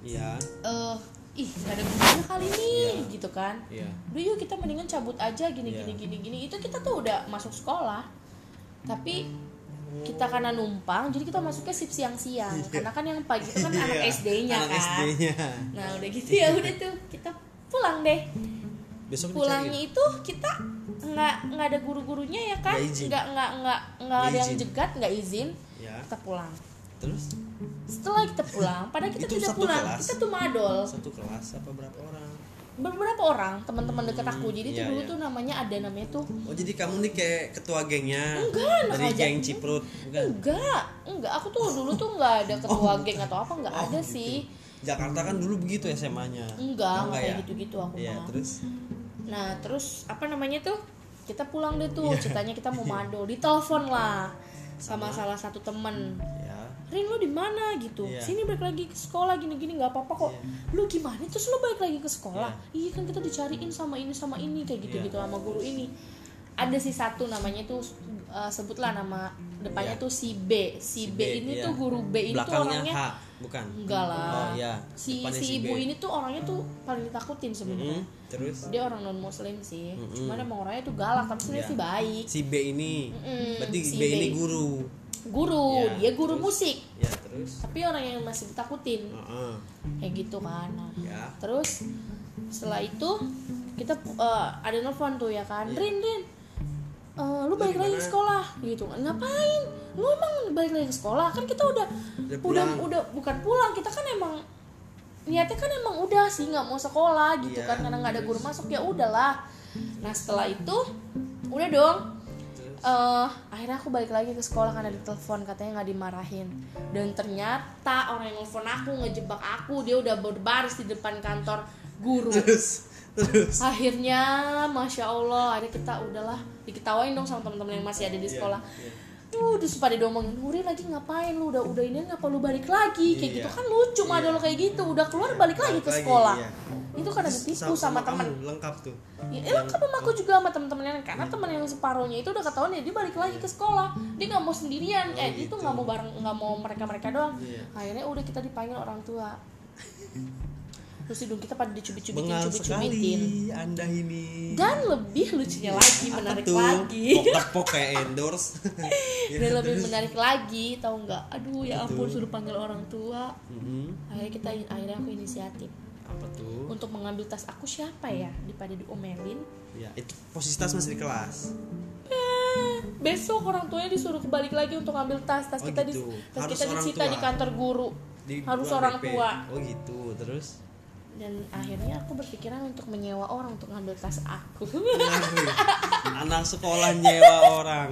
[SPEAKER 1] iya
[SPEAKER 2] eh ih gak ada gunanya kali nih
[SPEAKER 1] Iya.
[SPEAKER 2] gitu kan
[SPEAKER 1] iya
[SPEAKER 2] udah yuk kita mendingan cabut aja gini
[SPEAKER 1] Iya.
[SPEAKER 2] gini gini gini itu kita tuh udah masuk sekolah tapi kita karena numpang jadi kita masuknya sip siang-siang karena kan yang pagi itu kan anak
[SPEAKER 1] Iya,
[SPEAKER 2] SD-nya
[SPEAKER 1] anak
[SPEAKER 2] kan
[SPEAKER 1] SD-nya
[SPEAKER 2] nah udah gitu ya udah tuh kita pulang deh
[SPEAKER 1] besok
[SPEAKER 2] pulangnya
[SPEAKER 1] dicariin.
[SPEAKER 2] itu kita nggak nggak ada guru-gurunya ya kan
[SPEAKER 1] Nggak izin.
[SPEAKER 2] nggak nggak nggak nggak
[SPEAKER 1] Nggak
[SPEAKER 2] ada yang
[SPEAKER 1] izin.
[SPEAKER 2] jegat nggak izin
[SPEAKER 1] ya
[SPEAKER 2] kita pulang
[SPEAKER 1] terus
[SPEAKER 2] setelah kita pulang padahal kita
[SPEAKER 1] Itu
[SPEAKER 2] tidak
[SPEAKER 1] satu
[SPEAKER 2] pulang
[SPEAKER 1] kelas?
[SPEAKER 2] kita tuh madol
[SPEAKER 1] satu kelas apa berapa orang
[SPEAKER 2] beberapa orang teman-teman dekat aku jadi tuh
[SPEAKER 1] iya,
[SPEAKER 2] dulu
[SPEAKER 1] iya.
[SPEAKER 2] tuh namanya ada namanya tuh
[SPEAKER 1] oh jadi kamu nih kayak ketua gengnya
[SPEAKER 2] Enggak, anak
[SPEAKER 1] dari
[SPEAKER 2] aja.
[SPEAKER 1] geng Ciprut bukan
[SPEAKER 2] enggak enggak aku tuh dulu tuh nggak ada ketua geng atau apa nggak
[SPEAKER 1] Oh,
[SPEAKER 2] ada
[SPEAKER 1] gitu.
[SPEAKER 2] sih
[SPEAKER 1] Jakarta kan dulu begitu SMA-nya
[SPEAKER 2] enggak nggak kayak gitu-gitu aku
[SPEAKER 1] Iya,
[SPEAKER 2] mah.
[SPEAKER 1] terus
[SPEAKER 2] nah terus apa namanya tuh kita pulang deh
[SPEAKER 1] Iya.
[SPEAKER 2] tuh ceritanya kita mau madol ditelepon lah sama, salah satu temen
[SPEAKER 1] ya
[SPEAKER 2] Rin lu di mana gitu?
[SPEAKER 1] Iya.
[SPEAKER 2] Sini balik lagi ke sekolah gini-gini nggak apa-apa kok. Lu gimana? Terus lu balik lagi ke sekolah? Iya kan kita dicariin sama ini sama ini kayak gitu-gitu
[SPEAKER 1] Iya.
[SPEAKER 2] sama guru ini. Ada sih satu namanya tuh eh, sebutlah nama depannya
[SPEAKER 1] Iya.
[SPEAKER 2] tuh si B. Si, B, ini
[SPEAKER 1] iya.
[SPEAKER 2] tuh guru B ini tuh
[SPEAKER 1] belakangnya
[SPEAKER 2] orangnya
[SPEAKER 1] H bukan
[SPEAKER 2] enggak lah.
[SPEAKER 1] Oh, iya.
[SPEAKER 2] Si
[SPEAKER 1] Depannya si
[SPEAKER 2] si ibu
[SPEAKER 1] B.
[SPEAKER 2] ini tuh orangnya tuh paling ditakutin
[SPEAKER 1] Mm,
[SPEAKER 2] sebenarnya.
[SPEAKER 1] terus
[SPEAKER 2] Dia orang non muslim sih.
[SPEAKER 1] Mm-mm.
[SPEAKER 2] Cuman emang orangnya tuh galak tapi sebenarnya
[SPEAKER 1] Iya.
[SPEAKER 2] sih baik.
[SPEAKER 1] si B ini
[SPEAKER 2] Mm-mm,
[SPEAKER 1] berarti
[SPEAKER 2] si
[SPEAKER 1] B, ini
[SPEAKER 2] B.
[SPEAKER 1] guru
[SPEAKER 2] Guru,
[SPEAKER 1] Iya,
[SPEAKER 2] dia guru
[SPEAKER 1] terus?
[SPEAKER 2] musik.
[SPEAKER 1] ya terus
[SPEAKER 2] Tapi orang yang masih ditakutin.
[SPEAKER 1] Heeh.
[SPEAKER 2] kayak gitu kan Nah,
[SPEAKER 1] Ya.
[SPEAKER 2] terus
[SPEAKER 1] Iya.
[SPEAKER 2] setelah itu kita eh, ada nelfon tuh ya kan Rin Rin eh, lu balik lagi ke sekolah gitu ngapain lu emang balik lagi ke sekolah kan kita udah
[SPEAKER 1] Udah
[SPEAKER 2] udah
[SPEAKER 1] pulang.
[SPEAKER 2] udah bukan pulang kita kan emang niatnya kan emang udah sih nggak mau sekolah gitu
[SPEAKER 1] Iya.
[SPEAKER 2] kan karena nggak ada guru masuk ya udahlah nah setelah itu udah dong eh akhirnya aku balik lagi ke sekolah karena ditelepon katanya nggak dimarahin dan ternyata orang yang nelfon aku ngejebak aku dia udah berbaris di depan kantor guru
[SPEAKER 1] terus terus
[SPEAKER 2] akhirnya masya allah akhirnya kita udahlah diketawain dong sama teman-teman yang masih ada di sekolah
[SPEAKER 1] Iya,
[SPEAKER 2] Duh, terus pada diomongin Nuri lagi ngapain lu udah udah ini ngapa lu balik lagi kayak
[SPEAKER 1] Iya.
[SPEAKER 2] gitu kan lucu
[SPEAKER 1] Iya.
[SPEAKER 2] ada lo kayak gitu udah keluar balik lagi ke
[SPEAKER 1] Lagi,
[SPEAKER 2] sekolah
[SPEAKER 1] iya.
[SPEAKER 2] itu karena
[SPEAKER 1] Terus
[SPEAKER 2] ditipu sama, teman
[SPEAKER 1] kamu, lengkap tuh
[SPEAKER 2] ya eh, lengkap sama aku juga sama temen-temennya karena temen yang separuhnya itu udah ketahuan ya dia balik lagi ke sekolah dia nggak mau sendirian
[SPEAKER 1] Oh,
[SPEAKER 2] eh dia tuh
[SPEAKER 1] gitu.
[SPEAKER 2] nggak mau bareng nggak mau mereka mereka doang
[SPEAKER 1] Iya.
[SPEAKER 2] akhirnya udah kita dipanggil orang tua terus hidung kita pada dicubit-cubitin
[SPEAKER 1] bengal
[SPEAKER 2] cubit-cubitin
[SPEAKER 1] sekali anda ini
[SPEAKER 2] dan lebih lucunya lagi
[SPEAKER 1] Apa
[SPEAKER 2] menarik
[SPEAKER 1] tuh?
[SPEAKER 2] lagi
[SPEAKER 1] Pok-pok kayak endorse Iya,
[SPEAKER 2] dan lebih
[SPEAKER 1] terus. Gitu.
[SPEAKER 2] menarik lagi tau nggak aduh ya ampun
[SPEAKER 1] Betul.
[SPEAKER 2] suruh panggil orang tua
[SPEAKER 1] Mhm.
[SPEAKER 2] akhirnya kita akhirnya aku inisiatif
[SPEAKER 1] apa tuh
[SPEAKER 2] untuk mengambil tas aku siapa ya daripada diomelin
[SPEAKER 1] ya itu posisi tas masih di kelas
[SPEAKER 2] Eh, besok orang tuanya disuruh kebalik lagi untuk ambil tas tas
[SPEAKER 1] Oh,
[SPEAKER 2] kita
[SPEAKER 1] gitu.
[SPEAKER 2] di tas
[SPEAKER 1] Harus
[SPEAKER 2] kita
[SPEAKER 1] orang
[SPEAKER 2] disita
[SPEAKER 1] tua.
[SPEAKER 2] di kantor guru
[SPEAKER 1] Di
[SPEAKER 2] harus
[SPEAKER 1] luar
[SPEAKER 2] orang
[SPEAKER 1] BP.
[SPEAKER 2] tua
[SPEAKER 1] oh gitu terus
[SPEAKER 2] dan akhirnya aku berpikiran untuk menyewa orang untuk ngambil tas aku
[SPEAKER 1] Aduh, anak sekolah nyewa orang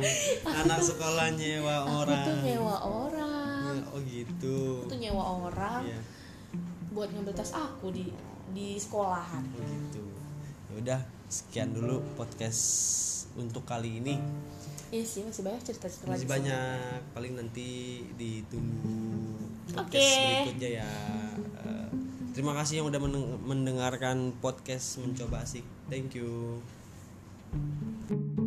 [SPEAKER 1] anak sekolah nyewa
[SPEAKER 2] aku
[SPEAKER 1] orang
[SPEAKER 2] tuh nyewa orang
[SPEAKER 1] oh gitu
[SPEAKER 2] aku tuh nyewa orang
[SPEAKER 1] Iya,
[SPEAKER 2] buat ngambil tas aku di di sekolahan
[SPEAKER 1] oh gitu ya udah sekian dulu podcast untuk kali ini
[SPEAKER 2] iya sih masih banyak cerita cerita
[SPEAKER 1] masih banyak paling nanti ditunggu podcast
[SPEAKER 2] Oke.
[SPEAKER 1] berikutnya ya Eh, terima kasih yang udah meneng- mendengarkan podcast mencoba asik thank you